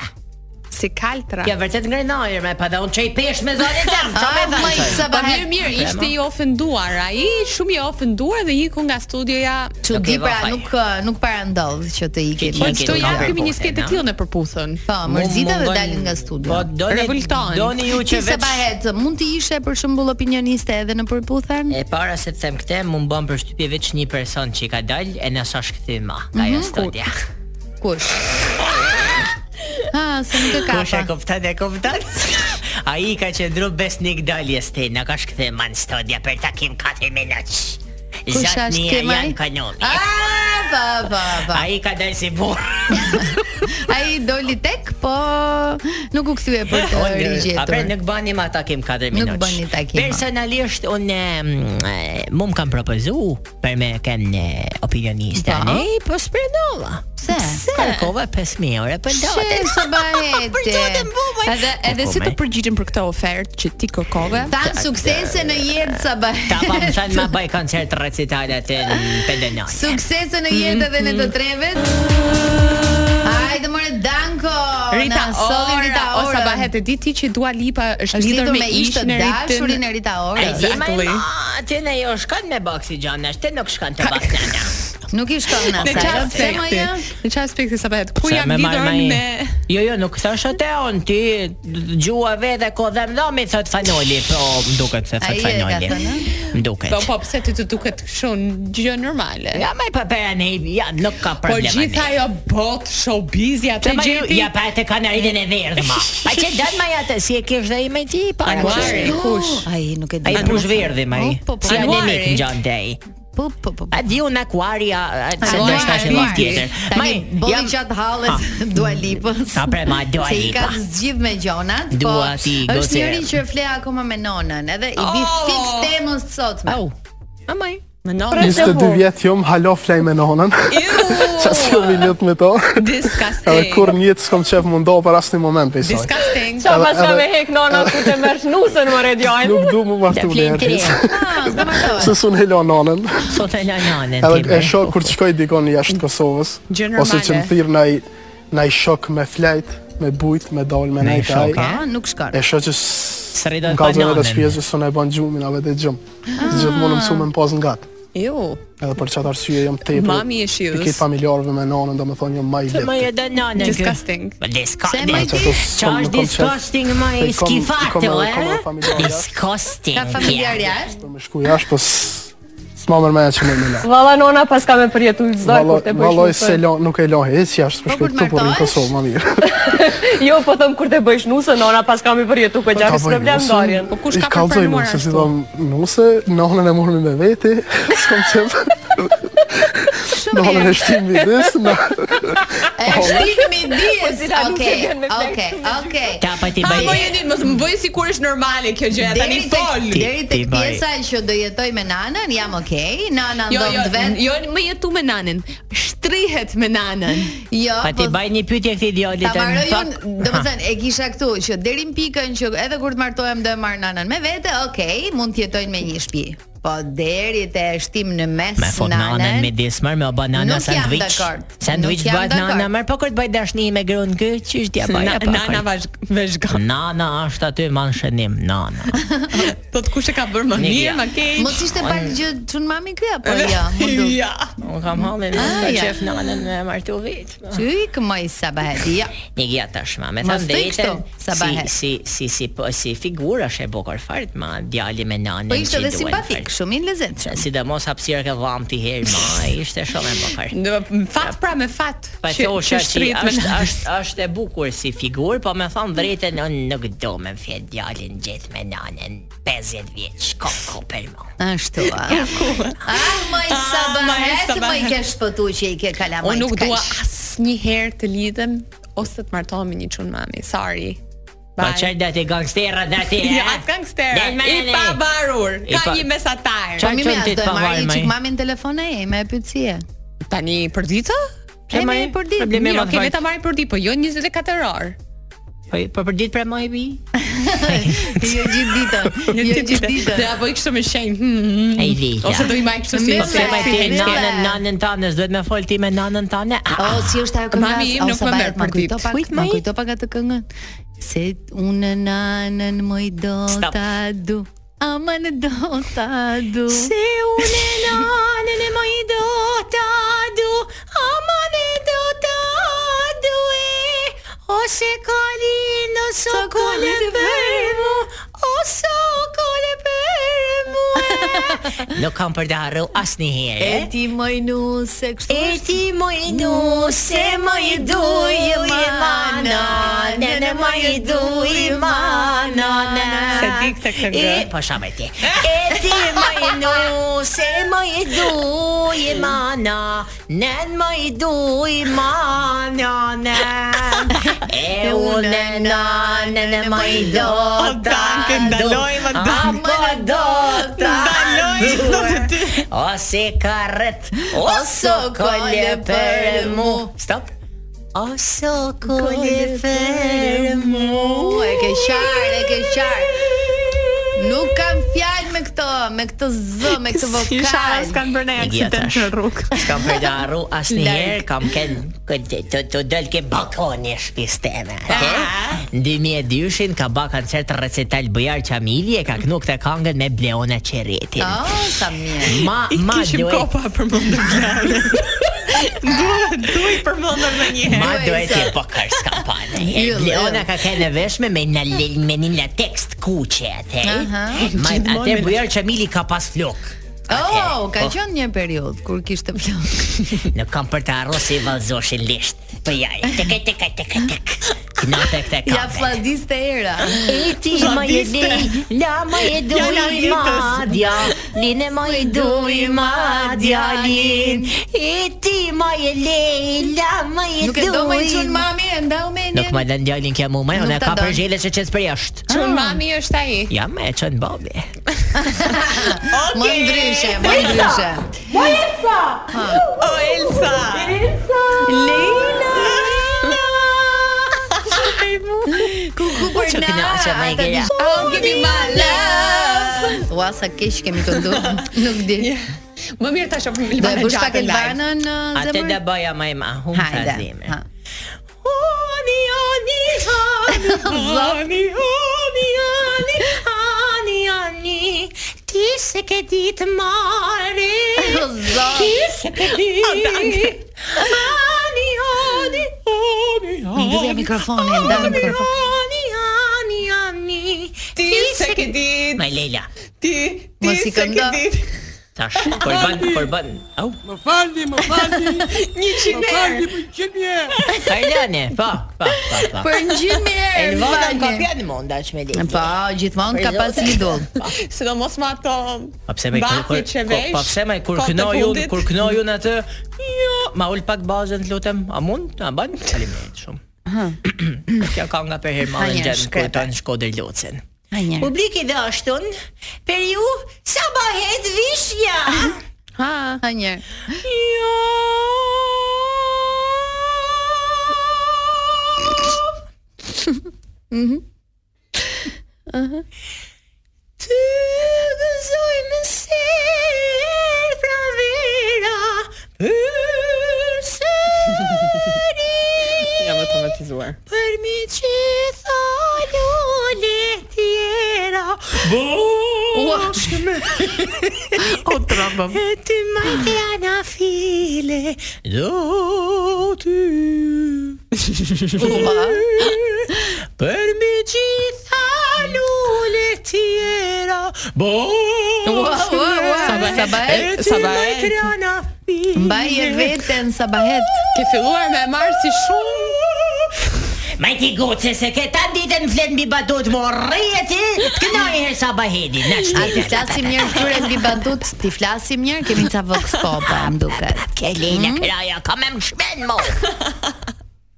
Speaker 7: Si
Speaker 8: si kaltra.
Speaker 13: Ja vërtet ngrenojër me pa dhe unë çej pesh me zonën jam. Çfarë
Speaker 8: Ah,
Speaker 13: më
Speaker 8: maj, sa
Speaker 13: thënë?
Speaker 8: Po mirë mirë, ishte i ofenduar. Ai shumë i ofenduar dhe iku nga studioja.
Speaker 7: Që di pra nuk nuk para ndodh që të ikemi.
Speaker 8: Po çdo javë kemi një sketë të tillë në përputhën.
Speaker 7: Po, mërzitë dhe dalin nga studio.
Speaker 8: Po, doni- Revoltohen. doni ju që
Speaker 7: Ti se
Speaker 8: veç-
Speaker 7: bahet, mund të ishe për shembull opinioniste edhe në përputhen?
Speaker 9: E para se të them këtë, më bën përshtypje veç një person që i ka dalë e nësa shkëthyma nga ajo
Speaker 7: Mhm.
Speaker 9: studia. [laughs]
Speaker 7: Kush? Ah, se nuk e
Speaker 9: Kush e
Speaker 7: kapa.
Speaker 9: kupton e kupton? [laughs] Ai ka qendru besnik daljes te, na ka shkëthyma në studia për takim 4 minutë.
Speaker 7: Kush ka
Speaker 9: Zatnia
Speaker 7: shkthema ai?
Speaker 9: janë kanomi.
Speaker 7: Ah, pa, pa, pa.
Speaker 9: Ai ka dalë si burr.
Speaker 7: Ai doli tek, po nuk u kthye [laughs] për të
Speaker 9: A pra
Speaker 7: rigjetur.
Speaker 9: nuk bani ma takim 4
Speaker 7: Nuk
Speaker 9: minutë.
Speaker 7: bëni takima.
Speaker 9: Personalisht unë e, më më kam propozu për me ken e, opinioniste
Speaker 7: Po.
Speaker 9: ne, po s'prenova.
Speaker 7: Pse?
Speaker 9: Se kërkova 5000 orë për
Speaker 7: She
Speaker 9: datë.
Speaker 7: sa
Speaker 9: [laughs]
Speaker 7: bahete.
Speaker 8: Edhe edhe si të
Speaker 9: Komaj.
Speaker 8: përgjigjem për këtë ofertë që ti kërkove?
Speaker 7: Tan suksese në jetë sa bahete.
Speaker 9: Ta pa më thënë ma bëj koncert recitalet e në Pedenaj.
Speaker 7: Suksese në jetë edhe në të trevet. Hajde more Danko.
Speaker 8: Rita
Speaker 7: na solli
Speaker 8: Ora,
Speaker 7: Rita Ora.
Speaker 8: ose bahet e di ti që Dua Lipa është
Speaker 7: Është
Speaker 8: lidhur
Speaker 7: lidhur
Speaker 8: me
Speaker 7: me ish të
Speaker 8: ishën e
Speaker 7: dashurin e Rita Ora.
Speaker 8: Exactly.
Speaker 9: Ti ne jo shkon me boksi gjanash, ti nuk shkon të boksi
Speaker 7: Nuk i shkon
Speaker 8: Në
Speaker 7: asaj.
Speaker 8: çfarë
Speaker 7: Pse më
Speaker 8: aspekti?
Speaker 7: ja?
Speaker 8: Në çfarë aspekti sa bëhet? Ku
Speaker 9: Sa
Speaker 8: jam
Speaker 9: me marr
Speaker 8: lidhur
Speaker 9: me-
Speaker 8: me
Speaker 9: Jo, jo, nuk thashë te on, ti gjua vete ko dhe më dhomi, thot fanoli, po më duket se
Speaker 8: Ai
Speaker 9: thot
Speaker 8: e
Speaker 9: fanoli.
Speaker 8: ka thënë,
Speaker 9: Më duket.
Speaker 8: Po po pse ti të duket kështu gjë normale?
Speaker 9: Ja, më pa pera ne, ja, nuk ka
Speaker 8: Po
Speaker 9: problema.
Speaker 8: gjithë ajo bot showbizja te
Speaker 9: Të ma ju,
Speaker 8: gjepi.
Speaker 9: ja pa te kanarinën e verdhë ma. Pa që dan ma ja të si e kish dhe i me ti, pa.
Speaker 7: Anuari, kush? Ai nuk e di.
Speaker 9: Ai push verdhë ma i.
Speaker 7: Po, po, po.
Speaker 9: Si anemik
Speaker 7: Anuari.
Speaker 9: në gjanë dej.
Speaker 7: Po po po.
Speaker 9: A di unë akuaria, a- a- se
Speaker 7: Anuari.
Speaker 9: do shtash e lafë tjetër. Ma i,
Speaker 7: Tani
Speaker 9: jam...
Speaker 7: bolli çat hallet [laughs] Dua Lipës.
Speaker 9: Ta pre, ma, Dua
Speaker 7: Se i ka
Speaker 9: Lipa.
Speaker 7: zgjidh me gjonat, po.
Speaker 9: Dua ti,
Speaker 7: Është
Speaker 9: gocer.
Speaker 7: njëri që fle akoma me nonën, edhe i vi
Speaker 8: Oh!
Speaker 7: fix temën së sotme. Au.
Speaker 8: Amaj. Në nonë.
Speaker 14: 22 vjetë jom, halo flej me nonën [laughs] Qa s'kom i ljut me to
Speaker 8: Disgusting.
Speaker 14: Edhe kur njëtë s'kom qef më ndohë për asë një moment për isoj
Speaker 8: Disgusting.
Speaker 14: Qa pas ka me
Speaker 8: hek nona ku të mersh nusën më rediojnë.
Speaker 14: Nuk du mu martu në ertis [laughs]
Speaker 7: Ah,
Speaker 14: Se s'un helo nonën
Speaker 9: Sot e la nanën.
Speaker 14: Edhe e shok kur të shkoj dikon jashtë Kosovës
Speaker 9: Gjë
Speaker 14: Ose që
Speaker 9: normale.
Speaker 14: më thirë naj, naj shok me flejt Me bujt, me dal, me
Speaker 9: Naj
Speaker 14: naj taj
Speaker 9: shok, e?
Speaker 7: Po, Nuk shkon.
Speaker 14: E shoh që
Speaker 9: Srida
Speaker 14: Më ka zonë edhe
Speaker 9: bananën.
Speaker 14: shpjesë së në e ban gjumin, a vetë e gjum
Speaker 9: Ah.
Speaker 14: Gjithmonë mësu me më pas nga të
Speaker 8: Jo.
Speaker 14: Edhe për çfarë arsye jam tepër.
Speaker 8: Mami e shius.
Speaker 14: Pikë familjarëve me nanën, domethënë jam më i
Speaker 9: Se më
Speaker 14: lehtë.
Speaker 9: e dë nanën. kë.
Speaker 8: Disgusting.
Speaker 9: Disgusting.
Speaker 14: Se më i di?
Speaker 9: Qa është disgusting ma i skifato, e? Disgusting.
Speaker 14: Ka familjar
Speaker 9: ja.
Speaker 7: eh?
Speaker 14: Po më shku jashtë, po s- s'ma mërmenja që më më la.
Speaker 15: Valla nona pas ka me përjetu çdo kur të bësh.
Speaker 14: Valloj se lo, nuk e lohe, hiç jashtë
Speaker 7: Po
Speaker 14: për shkak këtu por në Kosovë më mirë.
Speaker 15: Jo, po them kur të bësh nusën, nona pas ka me përjetu ku
Speaker 14: Ta
Speaker 15: gjak
Speaker 14: bëj
Speaker 15: problem
Speaker 14: nusën,
Speaker 15: ndarjen.
Speaker 8: Po
Speaker 14: i kallzoj nusën, si thon, nuse, nonën e morëm me veti, s'kom qef. Nonën e shtim midis, na-
Speaker 7: Është
Speaker 15: [laughs]
Speaker 7: midis.
Speaker 8: Po, zila nuk e
Speaker 7: Okej.
Speaker 8: vjen me flekt.
Speaker 7: Okej, okej.
Speaker 9: Ta pa ti
Speaker 8: Ha,
Speaker 9: bëj.
Speaker 8: po jeni, mos më bëj sikur është normale kjo gjë. Tani
Speaker 7: Deri tek-
Speaker 8: fol.
Speaker 7: Deri tek pjesa që do jetoj me nanën, jam okay. Nana
Speaker 8: Jo,
Speaker 7: ndon
Speaker 8: jo,
Speaker 7: vetë.
Speaker 8: jo, më jetu me nanën. Shtrihet me nanën.
Speaker 7: Jo,
Speaker 9: Pa ti bëj një pyetje këtij djalit
Speaker 7: Ta
Speaker 9: tani,
Speaker 7: marroj
Speaker 9: pak.
Speaker 7: unë, do të thënë, e kisha këtu që deri në pikën që edhe kur të martohem do e marr nanën me vete, okay, mund të jetojnë me një shtëpi. Po deri te shtim në mes
Speaker 9: Ah, Me fot nanën me dismar me o banana
Speaker 7: Nuk jam
Speaker 9: sandwich.
Speaker 7: dakord.
Speaker 9: Sandwich
Speaker 7: Nuk jam
Speaker 9: bëhet nana,
Speaker 7: dakord.
Speaker 9: më po kur të bëj dashni me gruan kë, çish dia bëj.
Speaker 8: Na- nana vazhgon.
Speaker 9: Nana është aty me shënim, nana. Hmm.
Speaker 8: Po të kush e ka bërë më
Speaker 9: Mirë,
Speaker 8: mirë,
Speaker 9: ja.
Speaker 8: më keq.
Speaker 7: Mos ishte pak gjë çun mami ky
Speaker 8: [laughs]
Speaker 7: apo jo? Mund të.
Speaker 8: Ja.
Speaker 9: Unë kam hallën
Speaker 7: Ah,
Speaker 9: në
Speaker 7: ja.
Speaker 9: qef nanën me martu vit.
Speaker 8: Jo.
Speaker 7: Çik më sa bëhet. Ja.
Speaker 9: Një gja tashma, me
Speaker 7: Mos thuj
Speaker 9: thënë drejtën,
Speaker 7: kështu, sa
Speaker 9: si,
Speaker 7: bëhet.
Speaker 9: si, si, si, po, si figurë është e bukur fart, ma djali me nanën
Speaker 7: Po ishte
Speaker 9: që
Speaker 7: edhe
Speaker 9: duhen
Speaker 7: simpatik, shumë i lezetshëm.
Speaker 9: Si dhe mos hapsirë ke dhamë ti herë,
Speaker 7: [laughs]
Speaker 9: ma, ishte shumë e bukur.
Speaker 8: Në fat pra me fat.
Speaker 9: Pa
Speaker 8: që-
Speaker 9: thosha
Speaker 8: që
Speaker 9: që
Speaker 8: shtrihet me
Speaker 9: është,
Speaker 8: nanën.
Speaker 9: është, është e bukur si figurë, po me thonë drejtën, unë nuk do me fjetë djalin gjithë me nanën, 50 vjeç, ka ku për mua.
Speaker 7: Ashtu. a. Ah, më i sa
Speaker 8: Ah, moj,
Speaker 7: bëhet,
Speaker 8: sa
Speaker 7: më i
Speaker 8: bëhet.
Speaker 7: ke shpëtu që i ke kalamajt.
Speaker 8: Unë nuk dua
Speaker 7: kaq.
Speaker 8: asnjëherë të lidhem ose të martohem me një çun mami. Sorry.
Speaker 9: Pa qërë dhe ti gangsterët dhe ti,
Speaker 8: [laughs] Ja, as gangster.
Speaker 9: Po, eh? Del me
Speaker 8: I
Speaker 9: ne.
Speaker 8: pavarur.
Speaker 9: I
Speaker 8: Ka
Speaker 9: pa-
Speaker 8: një mesatar.
Speaker 7: Po mi më as do e marr
Speaker 8: marrë
Speaker 7: çik mamin telefon e me pyetje.
Speaker 8: Tani për ditë?
Speaker 7: E me për ditë.
Speaker 8: jo Mirë, okay, le ta marrim për ditë, po jo 24 orë.
Speaker 9: Po
Speaker 16: Po po për ditë pra më i bi.
Speaker 7: Jo gjithë
Speaker 8: [laughs]
Speaker 7: ditën. Jo gjithë ditën.
Speaker 8: Dhe apo i kështu me shenjë. Hmm.
Speaker 16: Ai di.
Speaker 8: Ose do i maj kështu si
Speaker 16: Ose
Speaker 8: ose
Speaker 16: me ti
Speaker 8: me
Speaker 16: nanën nanën tane, s'duhet me fol ti me nanën tane.
Speaker 7: O, si është ajo kënga?
Speaker 8: Mami im nuk më merr për ditë.
Speaker 7: Kujt më kujto pak atë këngën. Se unë nanën më i do
Speaker 16: Stop.
Speaker 7: ta du. Ama në do ta du.
Speaker 9: Se unë
Speaker 16: [laughs]
Speaker 9: nanën e moj do ta du Ama ne do ta du e Ose kalin o sokole për mu O sokole për mu
Speaker 16: Nuk kam për të harru asnjëherë. eh?
Speaker 7: E ti moj nuse kështu
Speaker 9: E ti moj nuse moj duje ma nanën E moj duje ma nanën
Speaker 16: Se ti këtë
Speaker 9: këngë.
Speaker 16: Po shamë ti.
Speaker 9: E ti më i nuse, më i duj i mana Nen më i duj i mana nen E unë nanën e më i do ta
Speaker 16: Tankë ndalojmë
Speaker 9: do A më do ta do
Speaker 16: Ose karret,
Speaker 9: O
Speaker 16: ose
Speaker 9: sokole për mu
Speaker 16: Stop.
Speaker 9: O sokole për mu
Speaker 7: E ke qarë, e ke qarë Nuk kam fjalë me këto, me këtë z, me
Speaker 8: [laughs]
Speaker 7: këtë vokal.
Speaker 8: Isha s'kan bërë ne aksident në rrugë.
Speaker 16: S'kam për të harru asnjëherë,
Speaker 8: Larg.
Speaker 16: kam ken këtë të të del ke balkoni e shtëpisë teme. Ke? Në 2002-shin ka ba koncert recital Bujar Çamili e ka kënu këtë këngën me Bleona Qeretin.
Speaker 7: Oh, sa mirë.
Speaker 16: Ma ma
Speaker 8: Kishim
Speaker 16: duhet
Speaker 8: kopa Po, për mund të [laughs] blane. Duhet, duhet për mundën me një
Speaker 16: Ma
Speaker 8: herë.
Speaker 16: duhet të po kërës
Speaker 7: [laughs]
Speaker 16: kampane E
Speaker 8: Yll,
Speaker 16: Bleona
Speaker 8: yll.
Speaker 16: ka kene veshme me në lil me një latex të kuqe atë e?
Speaker 7: Aha.
Speaker 16: Ma
Speaker 7: Gjithmonë
Speaker 16: atë
Speaker 7: me
Speaker 16: Bujar Çamili ka pas flok
Speaker 7: Oh, ka
Speaker 16: Po.
Speaker 7: qenë një periudhë kur kishte plot.
Speaker 16: Në kam për të arru si valzoshin lisht Për jaj, tek tek tek tek tek Knate këte kape
Speaker 7: Ja fladiste era.
Speaker 9: E ti më e di, la më
Speaker 7: Fjala
Speaker 9: e
Speaker 7: e
Speaker 9: duj
Speaker 7: ditës.
Speaker 9: madja Linë më e duj madja lin E ti më e lej, la më e duj
Speaker 7: Nuk e do më i çun mami, e ndau me
Speaker 16: Nuk më lën djalin kja mu me,
Speaker 7: Nuk
Speaker 16: unë e
Speaker 7: ta
Speaker 16: ka
Speaker 7: don.
Speaker 16: për zhjele që qësë për jashtë
Speaker 8: Çun mami është ai.
Speaker 16: Ja me e qënë
Speaker 7: [laughs]
Speaker 16: babi
Speaker 7: Më ndryshe, më ndryshe.
Speaker 9: O Elsa!
Speaker 8: O Elsa.
Speaker 9: Elsa!
Speaker 8: Leila.
Speaker 7: Kuku për
Speaker 16: Që
Speaker 7: na.
Speaker 16: kënaqe, më e
Speaker 7: ata
Speaker 16: gëra.
Speaker 7: dish- Oh, give me my love. Ua sa keq kemi këndu. [laughs] Nuk di.
Speaker 8: Më mirë ta shohim
Speaker 7: Do e
Speaker 8: Elbanën
Speaker 7: bësh pak
Speaker 8: gjatë live.
Speaker 7: Elbanën në
Speaker 16: Atë
Speaker 7: zemër?
Speaker 16: da bëja ma ima, hum të
Speaker 7: Hajde.
Speaker 16: azime
Speaker 9: [laughs]
Speaker 7: Ha.
Speaker 9: Ani, ani,
Speaker 16: [laughs]
Speaker 9: ani, ani, ani, ani, ani, ani, ti se ke ditë mare,
Speaker 7: O, Zot.
Speaker 9: ti se ke ditë, ani, ani, ani,
Speaker 7: Mbyllja mikrofonin, ndan mikrofon.
Speaker 9: ani, ani, ani,
Speaker 8: Ti se ke ditë.
Speaker 16: Ma Leila,
Speaker 8: Ti, ti
Speaker 7: Mos i
Speaker 8: se ke
Speaker 7: këndo.
Speaker 8: ditë.
Speaker 16: tash, për bën, për bën Au,
Speaker 17: Më falni, më falni.
Speaker 8: Një
Speaker 17: Më falni
Speaker 8: qinë.
Speaker 17: për qenie.
Speaker 16: Karlane, po, po, po, po
Speaker 7: Për ngjyrë erë.
Speaker 16: Elvana ka
Speaker 7: falni.
Speaker 16: pjanë mund dash me Leila
Speaker 7: Po, gjithmonë ka
Speaker 16: Për
Speaker 7: pas
Speaker 16: zotin.
Speaker 7: një idol.
Speaker 8: Sidomos me ato
Speaker 16: Po pse më kur kur
Speaker 8: bakje që vesh.
Speaker 16: po pse më kur
Speaker 8: kohët e
Speaker 16: kënoj unë,
Speaker 8: fundit.
Speaker 16: kur kënoj unë atë, jo, ma ul pak bazën të lutem. A mund? A bën? Faleminderit shumë. [clears throat] Kjo ka nga për herë
Speaker 7: A
Speaker 16: mallën
Speaker 7: një
Speaker 16: gjen kur
Speaker 7: shkrepe.
Speaker 16: tani shkodër locën.
Speaker 7: Ha një.
Speaker 9: Publik i dashur, për ju sa bëhet vishnja.
Speaker 7: Ha, ha një.
Speaker 9: jo.
Speaker 7: Mhm.
Speaker 9: Të gëzoj me ser pra vera Për sëri
Speaker 8: Jam automatizuar.
Speaker 9: Për mi që tha lule tjera
Speaker 7: Ua.
Speaker 8: O trambëm.
Speaker 9: E ty majtë janë afile
Speaker 16: Do ty për mi
Speaker 9: Gjitha lule tjera
Speaker 16: bo.
Speaker 7: Ua, ua, ua. Sabahet.
Speaker 16: Sa
Speaker 8: Sabahet.
Speaker 9: Majtë janë afile
Speaker 7: Mbaj e veten sabahet.
Speaker 8: Ke filluar me marr si shumë
Speaker 16: Ma ti goce se ke ta ditën flet mbi badut mo rrije ti të kënoj herë sa bahedi na
Speaker 7: A ti
Speaker 16: shtetën
Speaker 7: flasim mirë këtyre mbi bandut? Ti flasim mirë, kemi ca vox popa, më duket.
Speaker 16: Ke lejnë kraja ka me më shmen mo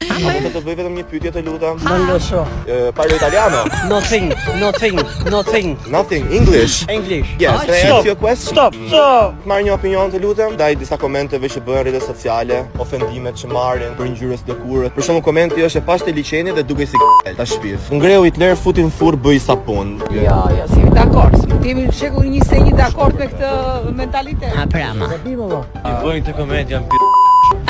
Speaker 7: A,
Speaker 18: Do të bëj vetëm një pyetje të lutem.
Speaker 19: Lo so.
Speaker 18: Eh, Parlo italiano.
Speaker 19: Nothing, nothing, nothing.
Speaker 18: Nothing. English.
Speaker 19: English.
Speaker 18: Yes,
Speaker 19: Ah,
Speaker 18: can I
Speaker 19: stop,
Speaker 18: ask you a question?
Speaker 19: Stop, stop.
Speaker 18: Marr një opinion të lutem ndaj disa komenteve që bëhen rrjetet sociale, ofendimet që marrin për ngjyrës lëkurët. Për shembull komenti është e pashtë e liçeni dhe duke si k***l ta shpiz. Ngreu Hitler futin furr bëj sapun.
Speaker 20: Jo, jo, si jemi dakord. Jemi në shekull 21 dakord me këtë mentalitet.
Speaker 9: A pra ma.
Speaker 18: I bëjnë të koment janë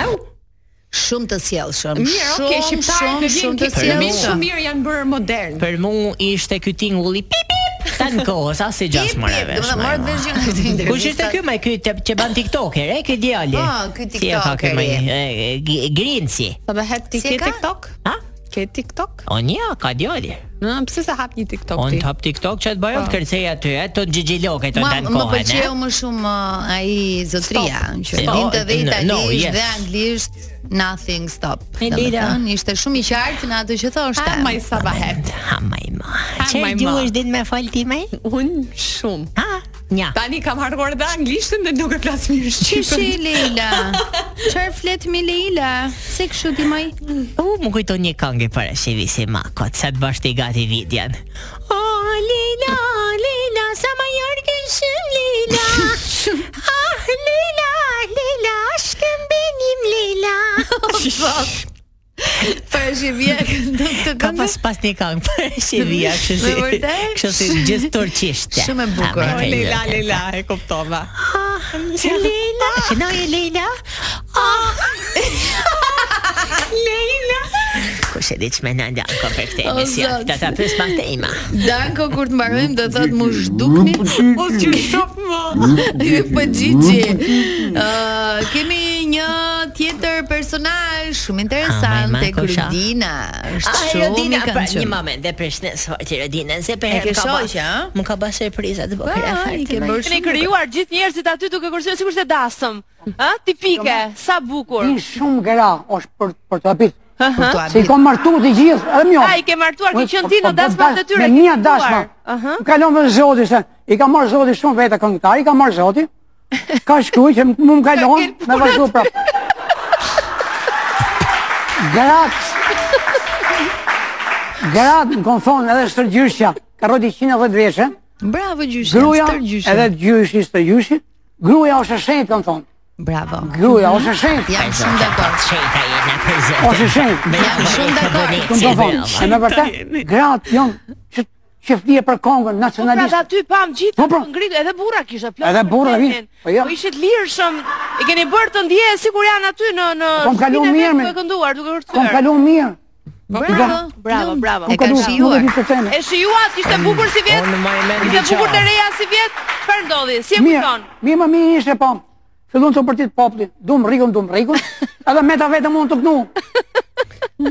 Speaker 7: Shumë të sjellshëm.
Speaker 8: Mirë, okay,
Speaker 7: Shumë,
Speaker 8: shqiptarët
Speaker 7: shumë,
Speaker 8: e vjen
Speaker 7: shumë të
Speaker 8: këtë
Speaker 7: sjellshëm.
Speaker 8: shumë mirë janë bërë modern.
Speaker 9: Për mu ishte ky tingulli pip pip ta në kohës, as si gjas mërë vesh.
Speaker 7: domethënë morët vesh gjë nga [laughs] këtë intervistë.
Speaker 9: Kush ishte ky më ky te- që ban TikToker, e ky djali?
Speaker 7: Po, ky
Speaker 9: Si e ka ky më?
Speaker 7: TikTokeri.
Speaker 9: e, G- Grinci.
Speaker 8: Sa bëhet ti
Speaker 9: Si e
Speaker 8: ke
Speaker 9: ka?
Speaker 8: TikTok?
Speaker 9: Ha?
Speaker 8: Ke TikTok?
Speaker 9: O nja, ka djali.
Speaker 8: Në, pse sa hap një
Speaker 7: Po,
Speaker 8: TikTok
Speaker 9: On
Speaker 8: ti?
Speaker 9: top TikTok që të bëjon
Speaker 8: Po.
Speaker 9: të kërcej aty, e të gjigjiloke të
Speaker 7: Ma,
Speaker 9: danë
Speaker 7: më
Speaker 9: kohën, e?
Speaker 7: pëlqeu më shumë uh, ai zotria që
Speaker 9: Stop.
Speaker 7: dinte dhe
Speaker 9: No,
Speaker 7: italisht
Speaker 9: yes.
Speaker 7: dhe anglisht nothing stop.
Speaker 8: E lira.
Speaker 7: Domethënë ishte shumë i qartë në atë që thoshte. Ha maj
Speaker 8: sa bahet.
Speaker 9: Ha maj ma.
Speaker 8: Çfarë duhesh
Speaker 7: din me fol ti më?
Speaker 8: Un shumë.
Speaker 9: Ha, nja.
Speaker 8: Tani kam harruar edhe anglishtën dhe nuk e flas mirë
Speaker 7: Qyshi [laughs]
Speaker 8: shqipën.
Speaker 7: Leila. Çfarë flet mi Leila? Se kështu ti më?
Speaker 9: U, më kujton një këngë para shivi si makot, se të bashkë të i gati vidjan.
Speaker 21: O, Lila, Lila, sa më jorgën shumë, Lila.
Speaker 7: [laughs]
Speaker 21: Ah, Lila, Lila, aşkım benim
Speaker 7: [laughs]
Speaker 21: Lila.
Speaker 7: Për shivje këtë këngë.
Speaker 9: Ka pas pas një këngë për shivja, kështu
Speaker 7: Me
Speaker 9: si,
Speaker 7: [laughs] vërtet?
Speaker 9: kështu si gjithë turqishte.
Speaker 7: Shumë e bukur.
Speaker 9: Ha,
Speaker 7: O,
Speaker 9: me të
Speaker 7: Leila,
Speaker 9: lirë,
Speaker 8: Leila, e kuptova.
Speaker 21: Ah,
Speaker 9: [laughs]
Speaker 21: Lila. Şenoye Lila. Ah. Lila.
Speaker 9: Ah. Kush e di çme në nda ko për këtë
Speaker 7: O,
Speaker 9: emision.
Speaker 7: zot.
Speaker 9: Ta ta pres pa tema.
Speaker 7: Danko kur të mbarojmë do thot mu zhdukni
Speaker 9: O,
Speaker 7: që shoh më. [laughs] Ju po Gigi. Ë kemi një tjetër personazh shumë
Speaker 9: Ah,
Speaker 7: interesant
Speaker 9: maj, ma,
Speaker 7: tek
Speaker 9: kusha?
Speaker 7: Rudina. Është
Speaker 9: Ah,
Speaker 7: shumë i
Speaker 9: Rodina, pra,
Speaker 7: këndshëm.
Speaker 9: një moment dhe prishnes fort Rodina, se për
Speaker 7: E
Speaker 9: herë
Speaker 7: ke
Speaker 9: më ka
Speaker 7: shoqe,
Speaker 9: bërë. Më ka bërë surpriza po të bukura
Speaker 14: Ah,
Speaker 9: fare.
Speaker 14: i ke
Speaker 9: tonight.
Speaker 14: bërë shumë. krijuar gjithë njerëzit aty duke kursuar sikur të dasëm. Ë, tipike, sa bukur.
Speaker 12: Një shumë gra është për për të habit.
Speaker 14: Aha.
Speaker 12: Se i kam martu të gjithë, edhe mjo.
Speaker 14: Ai, ke martuar, ke
Speaker 12: Unë
Speaker 14: qenë
Speaker 12: po-
Speaker 14: ti në
Speaker 12: po bë dash-
Speaker 14: dasmat e tyre,
Speaker 12: Me
Speaker 14: ke
Speaker 12: mia
Speaker 14: kuptuar.
Speaker 12: dashma.
Speaker 14: Aha.
Speaker 12: Më kalon me zoti se i ka marrë zoti shumë vete këngëtar, i ka marrë zoti.
Speaker 14: [laughs]
Speaker 12: Ka shkuj që mu më kalon me vazhdu prapë. Gratë. Gratë më konë thonë edhe shtërgjyshja, ka rroti 110 vjeçë.
Speaker 7: Bravo gjyshi,
Speaker 12: Gruaja
Speaker 7: stërgjyshi.
Speaker 12: edhe gjyshi shtërgjyshi. Gruaja është e shenjtë kanë thonë.
Speaker 7: Bravo.
Speaker 12: Gruaja është e shenjtë.
Speaker 7: Jam shumë dakord.
Speaker 9: Shejta jena për zotin.
Speaker 12: Ose shenjtë.
Speaker 9: Jam shumë dakord.
Speaker 12: Këmë të thonë, e me vërtet, gratë jonë që që flie për Kongën
Speaker 14: Po pra dhe
Speaker 12: nacionaliste.
Speaker 14: aty pam gjithë
Speaker 12: Po, po.
Speaker 14: ngritur, edhe burra kishte plot.
Speaker 12: Edhe burra
Speaker 14: vërtetin.
Speaker 12: vin, po jo.
Speaker 14: Po ishit lirshëm. I keni bërë të ndjeje sikur janë aty në në
Speaker 12: Po, kam kalu
Speaker 14: shtëpinë e vet
Speaker 12: mirë Po, me-
Speaker 14: duke kënduar, duke hërcyer.
Speaker 12: Kom kalu mirë.
Speaker 14: Bravo, bravo, bravo.
Speaker 12: Kom kalu, nuk e di të teme.
Speaker 14: E shijuat, ishte bukur si vjet. Ishte bukur të reja si vjet. Çfarë ndodhi? Si e
Speaker 12: Mirë,
Speaker 14: kupton?
Speaker 12: mirë më mirë ishte po. Fillon të përtit populli, dum rikun, dum rikun, edhe me ta vetëm unë të kënu.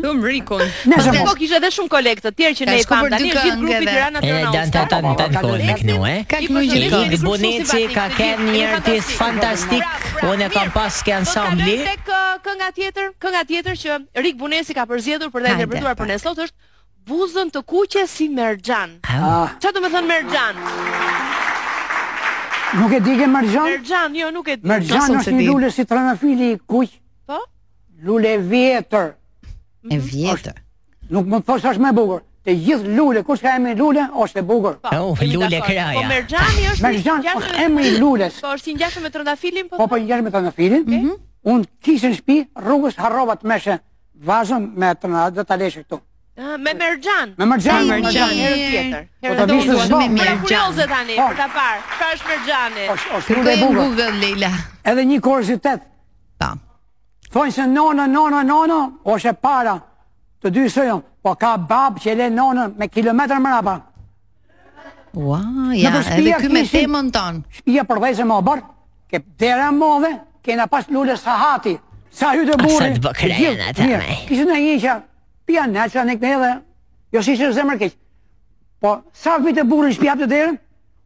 Speaker 8: Dum rikun.
Speaker 12: Nëse
Speaker 14: Pastaj
Speaker 12: mos.
Speaker 14: po kishte edhe shumë kolegë të tjerë që
Speaker 7: Ka
Speaker 14: ne i
Speaker 7: shku
Speaker 14: pam
Speaker 7: për
Speaker 14: tani
Speaker 7: dy
Speaker 14: është gjithë grupi
Speaker 7: këngëve.
Speaker 14: Tirana
Speaker 9: E
Speaker 14: Tirana.
Speaker 9: dan ta tan tan kol me kënu, e?
Speaker 7: Ka kënu gjithë
Speaker 9: I
Speaker 7: këngë.
Speaker 9: Kik Bunici
Speaker 14: Shumë
Speaker 9: ka
Speaker 14: simpatik, Pra,
Speaker 9: kanë një
Speaker 14: gjithë
Speaker 9: artist fantastik. Unë e kam pas kë ansambli.
Speaker 14: Tek ë, kënga tjetër, kënga tjetër që Rik Bunesi ka përzgjedhur për ta
Speaker 9: Hajde,
Speaker 14: interpretuar për ne sot është Buzën të kuqe si merxhan.
Speaker 12: Ah.
Speaker 14: Çfarë do të thonë merxhan?
Speaker 12: Nuk e di ke Merxhan?
Speaker 14: Merxhan, jo, nuk e di.
Speaker 12: Merxhan është një lule si tranafili i kuq.
Speaker 14: Po?
Speaker 12: Lule e vjetër.
Speaker 7: E vjetër.
Speaker 12: Nuk më thosh është më e bukur. Të gjithë lule, kush ka emrin lule, është e bukur.
Speaker 9: Oh, lule kraja.
Speaker 14: Po merxhani është një
Speaker 12: Merxhan
Speaker 14: ngjashme
Speaker 12: është
Speaker 14: me-
Speaker 12: emri po, i lules.
Speaker 14: Po është i ngjashëm me trëndafilin, po.
Speaker 12: Po po ngjesh me tranafilin. Unë kishe në shtëpi, rrugës harrova të meshe vazën me tranafil, do ta leshë këtu.
Speaker 14: Ah, Me merxhan.
Speaker 12: Me merxhan,
Speaker 14: Ai,
Speaker 12: me merxhan.
Speaker 14: herën tjetër.
Speaker 12: Po ta Po. vish në zbam.
Speaker 14: Me kurioze tani, për ta parë. Çfarë është merxhani?
Speaker 12: është lule e bukur.
Speaker 7: Leila.
Speaker 12: Edhe një kuriozitet.
Speaker 7: Ta.
Speaker 12: Thonë se nona, nona, nona, ose para, të dy sëjën, po ka babë që e le nonën me kilometra mrapa.
Speaker 7: Ua, ja, edhe ky me temën ton.
Speaker 12: Shpia përvejse më bërë, ke dera modhe, kena pas lule sahati, sa hy të
Speaker 9: A,
Speaker 12: burri.
Speaker 9: Ah, sa të bëkra
Speaker 12: e gjithë,
Speaker 9: janë ata,
Speaker 12: mirë.
Speaker 9: me.
Speaker 12: Kishin e një që, pia në që anë e këne edhe, jo si që zemër keq. Po, sa vit e burri shpia të derën,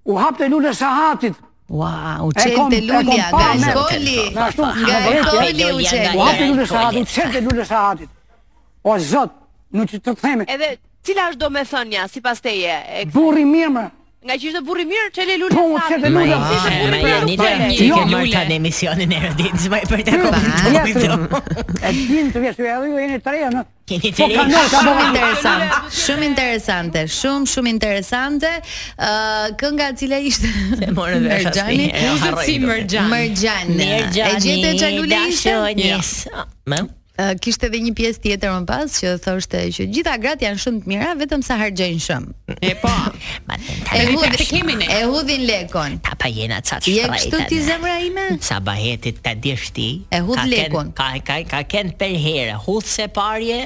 Speaker 12: u hapë të lule sahatit.
Speaker 7: Ua, u
Speaker 12: E kom-
Speaker 7: çelte
Speaker 12: e kom
Speaker 7: lulja
Speaker 12: pa
Speaker 7: nga
Speaker 12: me-
Speaker 7: Skoli.
Speaker 12: Na ashtu,
Speaker 7: Nga
Speaker 12: me vërtet,
Speaker 7: Skoli
Speaker 12: ja.
Speaker 7: u
Speaker 12: U hapë
Speaker 7: çelte.
Speaker 12: lule sahatit, u çelte lule sahatit. O, zot, nuk që të të themi,
Speaker 14: Edhe cila është domethënia sipas teje? E
Speaker 12: Burri mirë më,
Speaker 14: Nga që ishte burri mirë, çelë lule
Speaker 12: Po, çelë lule.
Speaker 9: Ma jani të ti
Speaker 12: Jo,
Speaker 14: [laughs]
Speaker 9: ke marrë ta në emisionin e rëdinës, ma i për
Speaker 12: Po,
Speaker 9: të
Speaker 12: Ja,
Speaker 9: komentuar këto.
Speaker 12: e din të vjesh, ju ju jeni të reja, në?
Speaker 9: Keni
Speaker 12: Po, ka nërë, ka
Speaker 7: Shumë
Speaker 12: bërë.
Speaker 7: interesant, shumë interesante, shumë shumë interesante. Ë kënga e cila ishte Se
Speaker 9: morë vesh asnjë, e harroj Muzët si duke. Mërxhan.
Speaker 7: Mërxhan. E
Speaker 9: Mërxhani,
Speaker 7: gjete Xhalule ishte?
Speaker 9: dashonjes. Ma?
Speaker 7: Ë, Eh, kishte edhe një pjesë tjetër më pas që thoshte që gjitha gratë janë shumë të mira vetëm sa harxojnë shumë.
Speaker 8: E
Speaker 9: [laughs]
Speaker 8: po.
Speaker 7: E
Speaker 8: Tani
Speaker 7: hudhin
Speaker 8: tash kemi ne.
Speaker 7: E hudhin lekon.
Speaker 9: Ta pa jena ca të
Speaker 7: Je
Speaker 9: shtrejtën.
Speaker 7: kështu ti zemra ime?
Speaker 9: Sa bahetit ta dish ti.
Speaker 7: E hudh
Speaker 9: ka ken-
Speaker 7: lekun.
Speaker 9: Ka ka ka ken për herë, hudh se parje.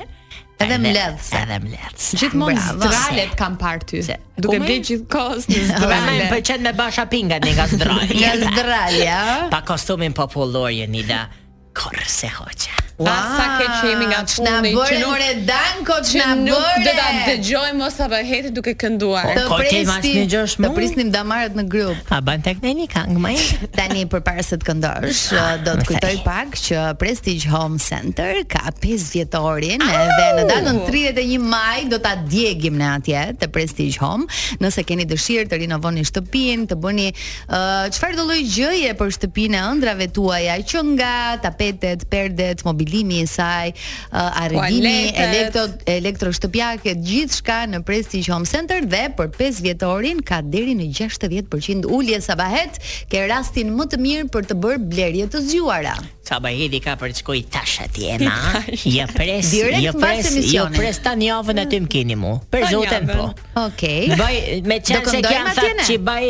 Speaker 9: Edhe
Speaker 7: mledhse.
Speaker 9: Edhe mledhse.
Speaker 8: Gjithmonë
Speaker 9: Bravo.
Speaker 8: zdralet kam parë ty. Duke
Speaker 9: Po,
Speaker 8: ble
Speaker 9: mirë.
Speaker 8: gjithkohës [laughs] në
Speaker 9: Dhe më më
Speaker 8: zdrale.
Speaker 9: pëlqen Pra, me basha pinga në gazdralje.
Speaker 7: Nga zdralja. ë?
Speaker 9: Pa kostumin popullor Jenida. Korr se hoqa.
Speaker 8: Ua, sa ke qemi nga
Speaker 7: ç'na
Speaker 8: puni, po- Ah, që
Speaker 7: bëre
Speaker 8: nuk-
Speaker 7: more danko
Speaker 8: Që
Speaker 7: ç'na
Speaker 8: nuk
Speaker 7: bëre.
Speaker 8: do ta dëgjojmë mos sa bëheti duke kënduar.
Speaker 7: Të
Speaker 9: Ko ti mas
Speaker 7: prisni,
Speaker 9: një gjosh
Speaker 7: të
Speaker 9: mu?
Speaker 7: prisnim damarët në grup.
Speaker 9: A ban tek ne një këngë më?
Speaker 7: Tani përpara se të këndosh, ë, do të kujtoj pak që Prestige Home Center ka 5 vjetorin dhe në datën 31 maj do ta djegim ne atje te Prestige Home. Nëse keni dëshirë të rinovoni shtëpinë, të bëni ë, çfarë do lloj gjëje për shtëpinë e ëndrave tuaja, që nga tapetet, perdet, mobilimi i saj, uh, arredimi,
Speaker 8: Tualetet.
Speaker 7: elektro elektroshtëpiake, gjithçka në Prestige Home Center dhe për 5 vjetorin ka deri në 60% ulje sabahet, ke rastin më të mirë për të bërë blerje të zgjuara.
Speaker 9: Sa baheti ka për të shkoj tash atje na. Ja pres,
Speaker 7: Direkt
Speaker 9: ja
Speaker 7: mbas
Speaker 9: pres, ja
Speaker 7: emisionit.
Speaker 9: pres tani javën aty më keni mu. Për
Speaker 8: Tani
Speaker 9: zoten
Speaker 8: javën.
Speaker 9: po.
Speaker 7: Okej.
Speaker 9: Baj me
Speaker 7: Do
Speaker 9: qenë se
Speaker 7: këndojmë
Speaker 9: kam
Speaker 7: atje ne?
Speaker 9: thënë që baj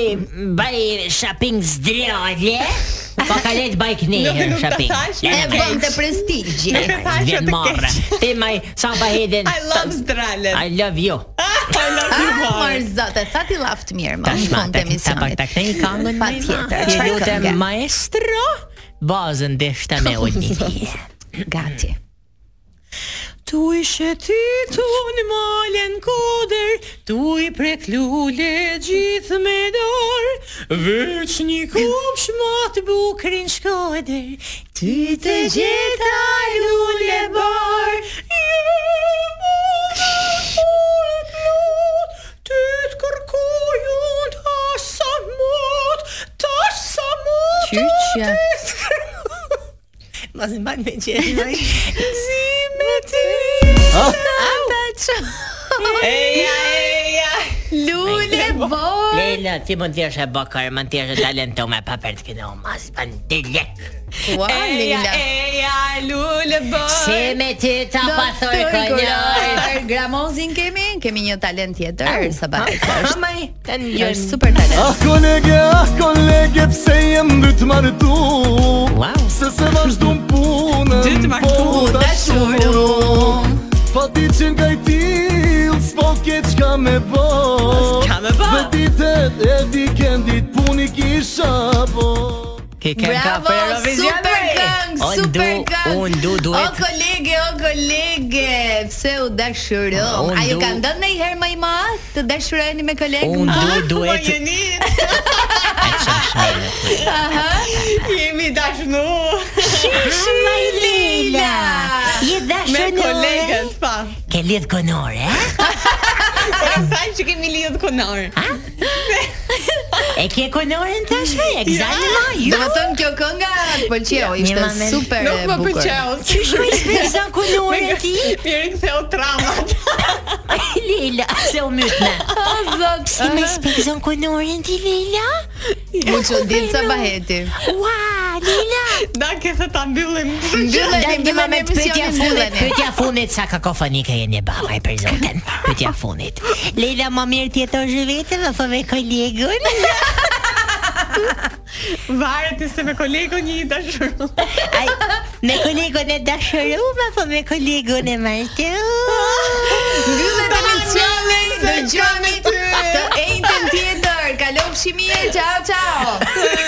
Speaker 9: baj shopping zdrojlje. Po ka lejt baj
Speaker 8: Nuk-
Speaker 9: knehër
Speaker 8: nuk ta
Speaker 9: shopping.
Speaker 8: thash,
Speaker 9: Ja,
Speaker 7: E
Speaker 9: ja,
Speaker 7: bëm të prestigji.
Speaker 9: ja, ja,
Speaker 8: thash,
Speaker 9: Vjen
Speaker 8: atë
Speaker 9: marrë. Ti maj sa bahetin.
Speaker 8: I love zdralet.
Speaker 9: I love you.
Speaker 7: Ah, mor zot, e tha ti llaft mirë, më në
Speaker 9: Tashma,
Speaker 7: fund
Speaker 9: ta
Speaker 7: të
Speaker 9: ta pak
Speaker 7: emisionit.
Speaker 9: ta kthej këngën më
Speaker 7: Patjetër,
Speaker 9: Ju
Speaker 7: çfarë
Speaker 9: lutem
Speaker 7: këngë?
Speaker 9: maestro, bazën deshta me ulni.
Speaker 7: Gati.
Speaker 8: Tu ishe ti tu në malen koder Tu i prek lule gjithë me dorë Veç një kup shmat bukrin shkoder Ty të gjeta lule bar Jo, Ty të kërkoj unë tash sa mot Tash sa mot
Speaker 7: Qyqja.
Speaker 8: [laughs]
Speaker 9: Mos më bën me qenë.
Speaker 8: Si me ti
Speaker 7: Ata ço.
Speaker 8: Eja, eja
Speaker 7: Lule bor.
Speaker 9: Leila, ti mund t'jesh e bakar, mund t'jesh e talentume pa për të këno, mas për në të lek.
Speaker 7: Ua, Leila.
Speaker 8: Eja, lule
Speaker 9: Se
Speaker 8: bërë
Speaker 9: me ti ta pa thoj [laughs] kënjoj.
Speaker 7: Për gramozin kemi, kemi një talent tjetër, Sabahet.
Speaker 9: Amaj, të
Speaker 7: Është super talent.
Speaker 22: Ah kolege, ah kolege, pse jem dytë martu
Speaker 9: Wow.
Speaker 22: Se se vazhdu në punën
Speaker 8: Dytë martu, dashurum.
Speaker 22: Pa ti që nga i tilë, s'po ke qka me bo
Speaker 8: S'ka me bo.
Speaker 22: Dhe ditët e vikendit puni kisha bo
Speaker 9: Ke kem ka
Speaker 7: Bravo,
Speaker 9: për Eurovision.
Speaker 7: super këngë, super këngë.
Speaker 9: Unë du,
Speaker 7: O
Speaker 9: duhet.
Speaker 7: kolege, o kolege, pse u
Speaker 9: O,
Speaker 7: dashurëm?
Speaker 9: unë
Speaker 7: A ju
Speaker 9: du-
Speaker 7: ka ndodhur ndonjëherë më i madh të dashuroheni me kolegë?
Speaker 9: Unë du, duhet.
Speaker 7: Aha.
Speaker 8: Jemi dashnu
Speaker 9: Shishma i Leila. Je
Speaker 8: Me
Speaker 9: dashur në ore.
Speaker 8: kolegët, pa
Speaker 9: Ke lidh konore, eh?
Speaker 8: Pra thanë që kemi lidhë konar
Speaker 9: E ke konore në tashme, e këzani ma,
Speaker 7: Do
Speaker 9: ju.
Speaker 7: të thënë kjo kënga të pëlqeu,
Speaker 9: Ja,
Speaker 7: ishte
Speaker 9: një moment.
Speaker 7: super e
Speaker 8: Nuk më
Speaker 7: bukur.
Speaker 8: përqeu
Speaker 9: Shishma i spesa konore
Speaker 8: [laughs]
Speaker 7: [laughs]
Speaker 9: ti.
Speaker 8: Mjeri këtheu tramat [laughs]
Speaker 9: Leila, se u mytne.
Speaker 7: O zot,
Speaker 9: Si me spezon konorin ti Lila?
Speaker 7: Mu që ditë sa baheti
Speaker 9: Ua, Lila!
Speaker 8: Da këthë ta mbyllim
Speaker 7: Mbylleni, mbylleni
Speaker 9: pyetja
Speaker 7: emisionin,
Speaker 9: funit,
Speaker 7: mbylleni
Speaker 9: pyetja funit sa kakofonike jeni babaj për zotin. Pyetja funit. Lila më mirë ti jetosh vetëm apo me kolegun?
Speaker 8: Varet i se me kolegu një i dashuru
Speaker 9: Ai, me kolegun e dashurum apo me kolegun e martuar?
Speaker 7: Mbyllet emisionin,
Speaker 8: se
Speaker 7: dëgjoni
Speaker 8: kam e ty.
Speaker 7: të ejtën tjetër Kalofshi mirë, ciao, ciao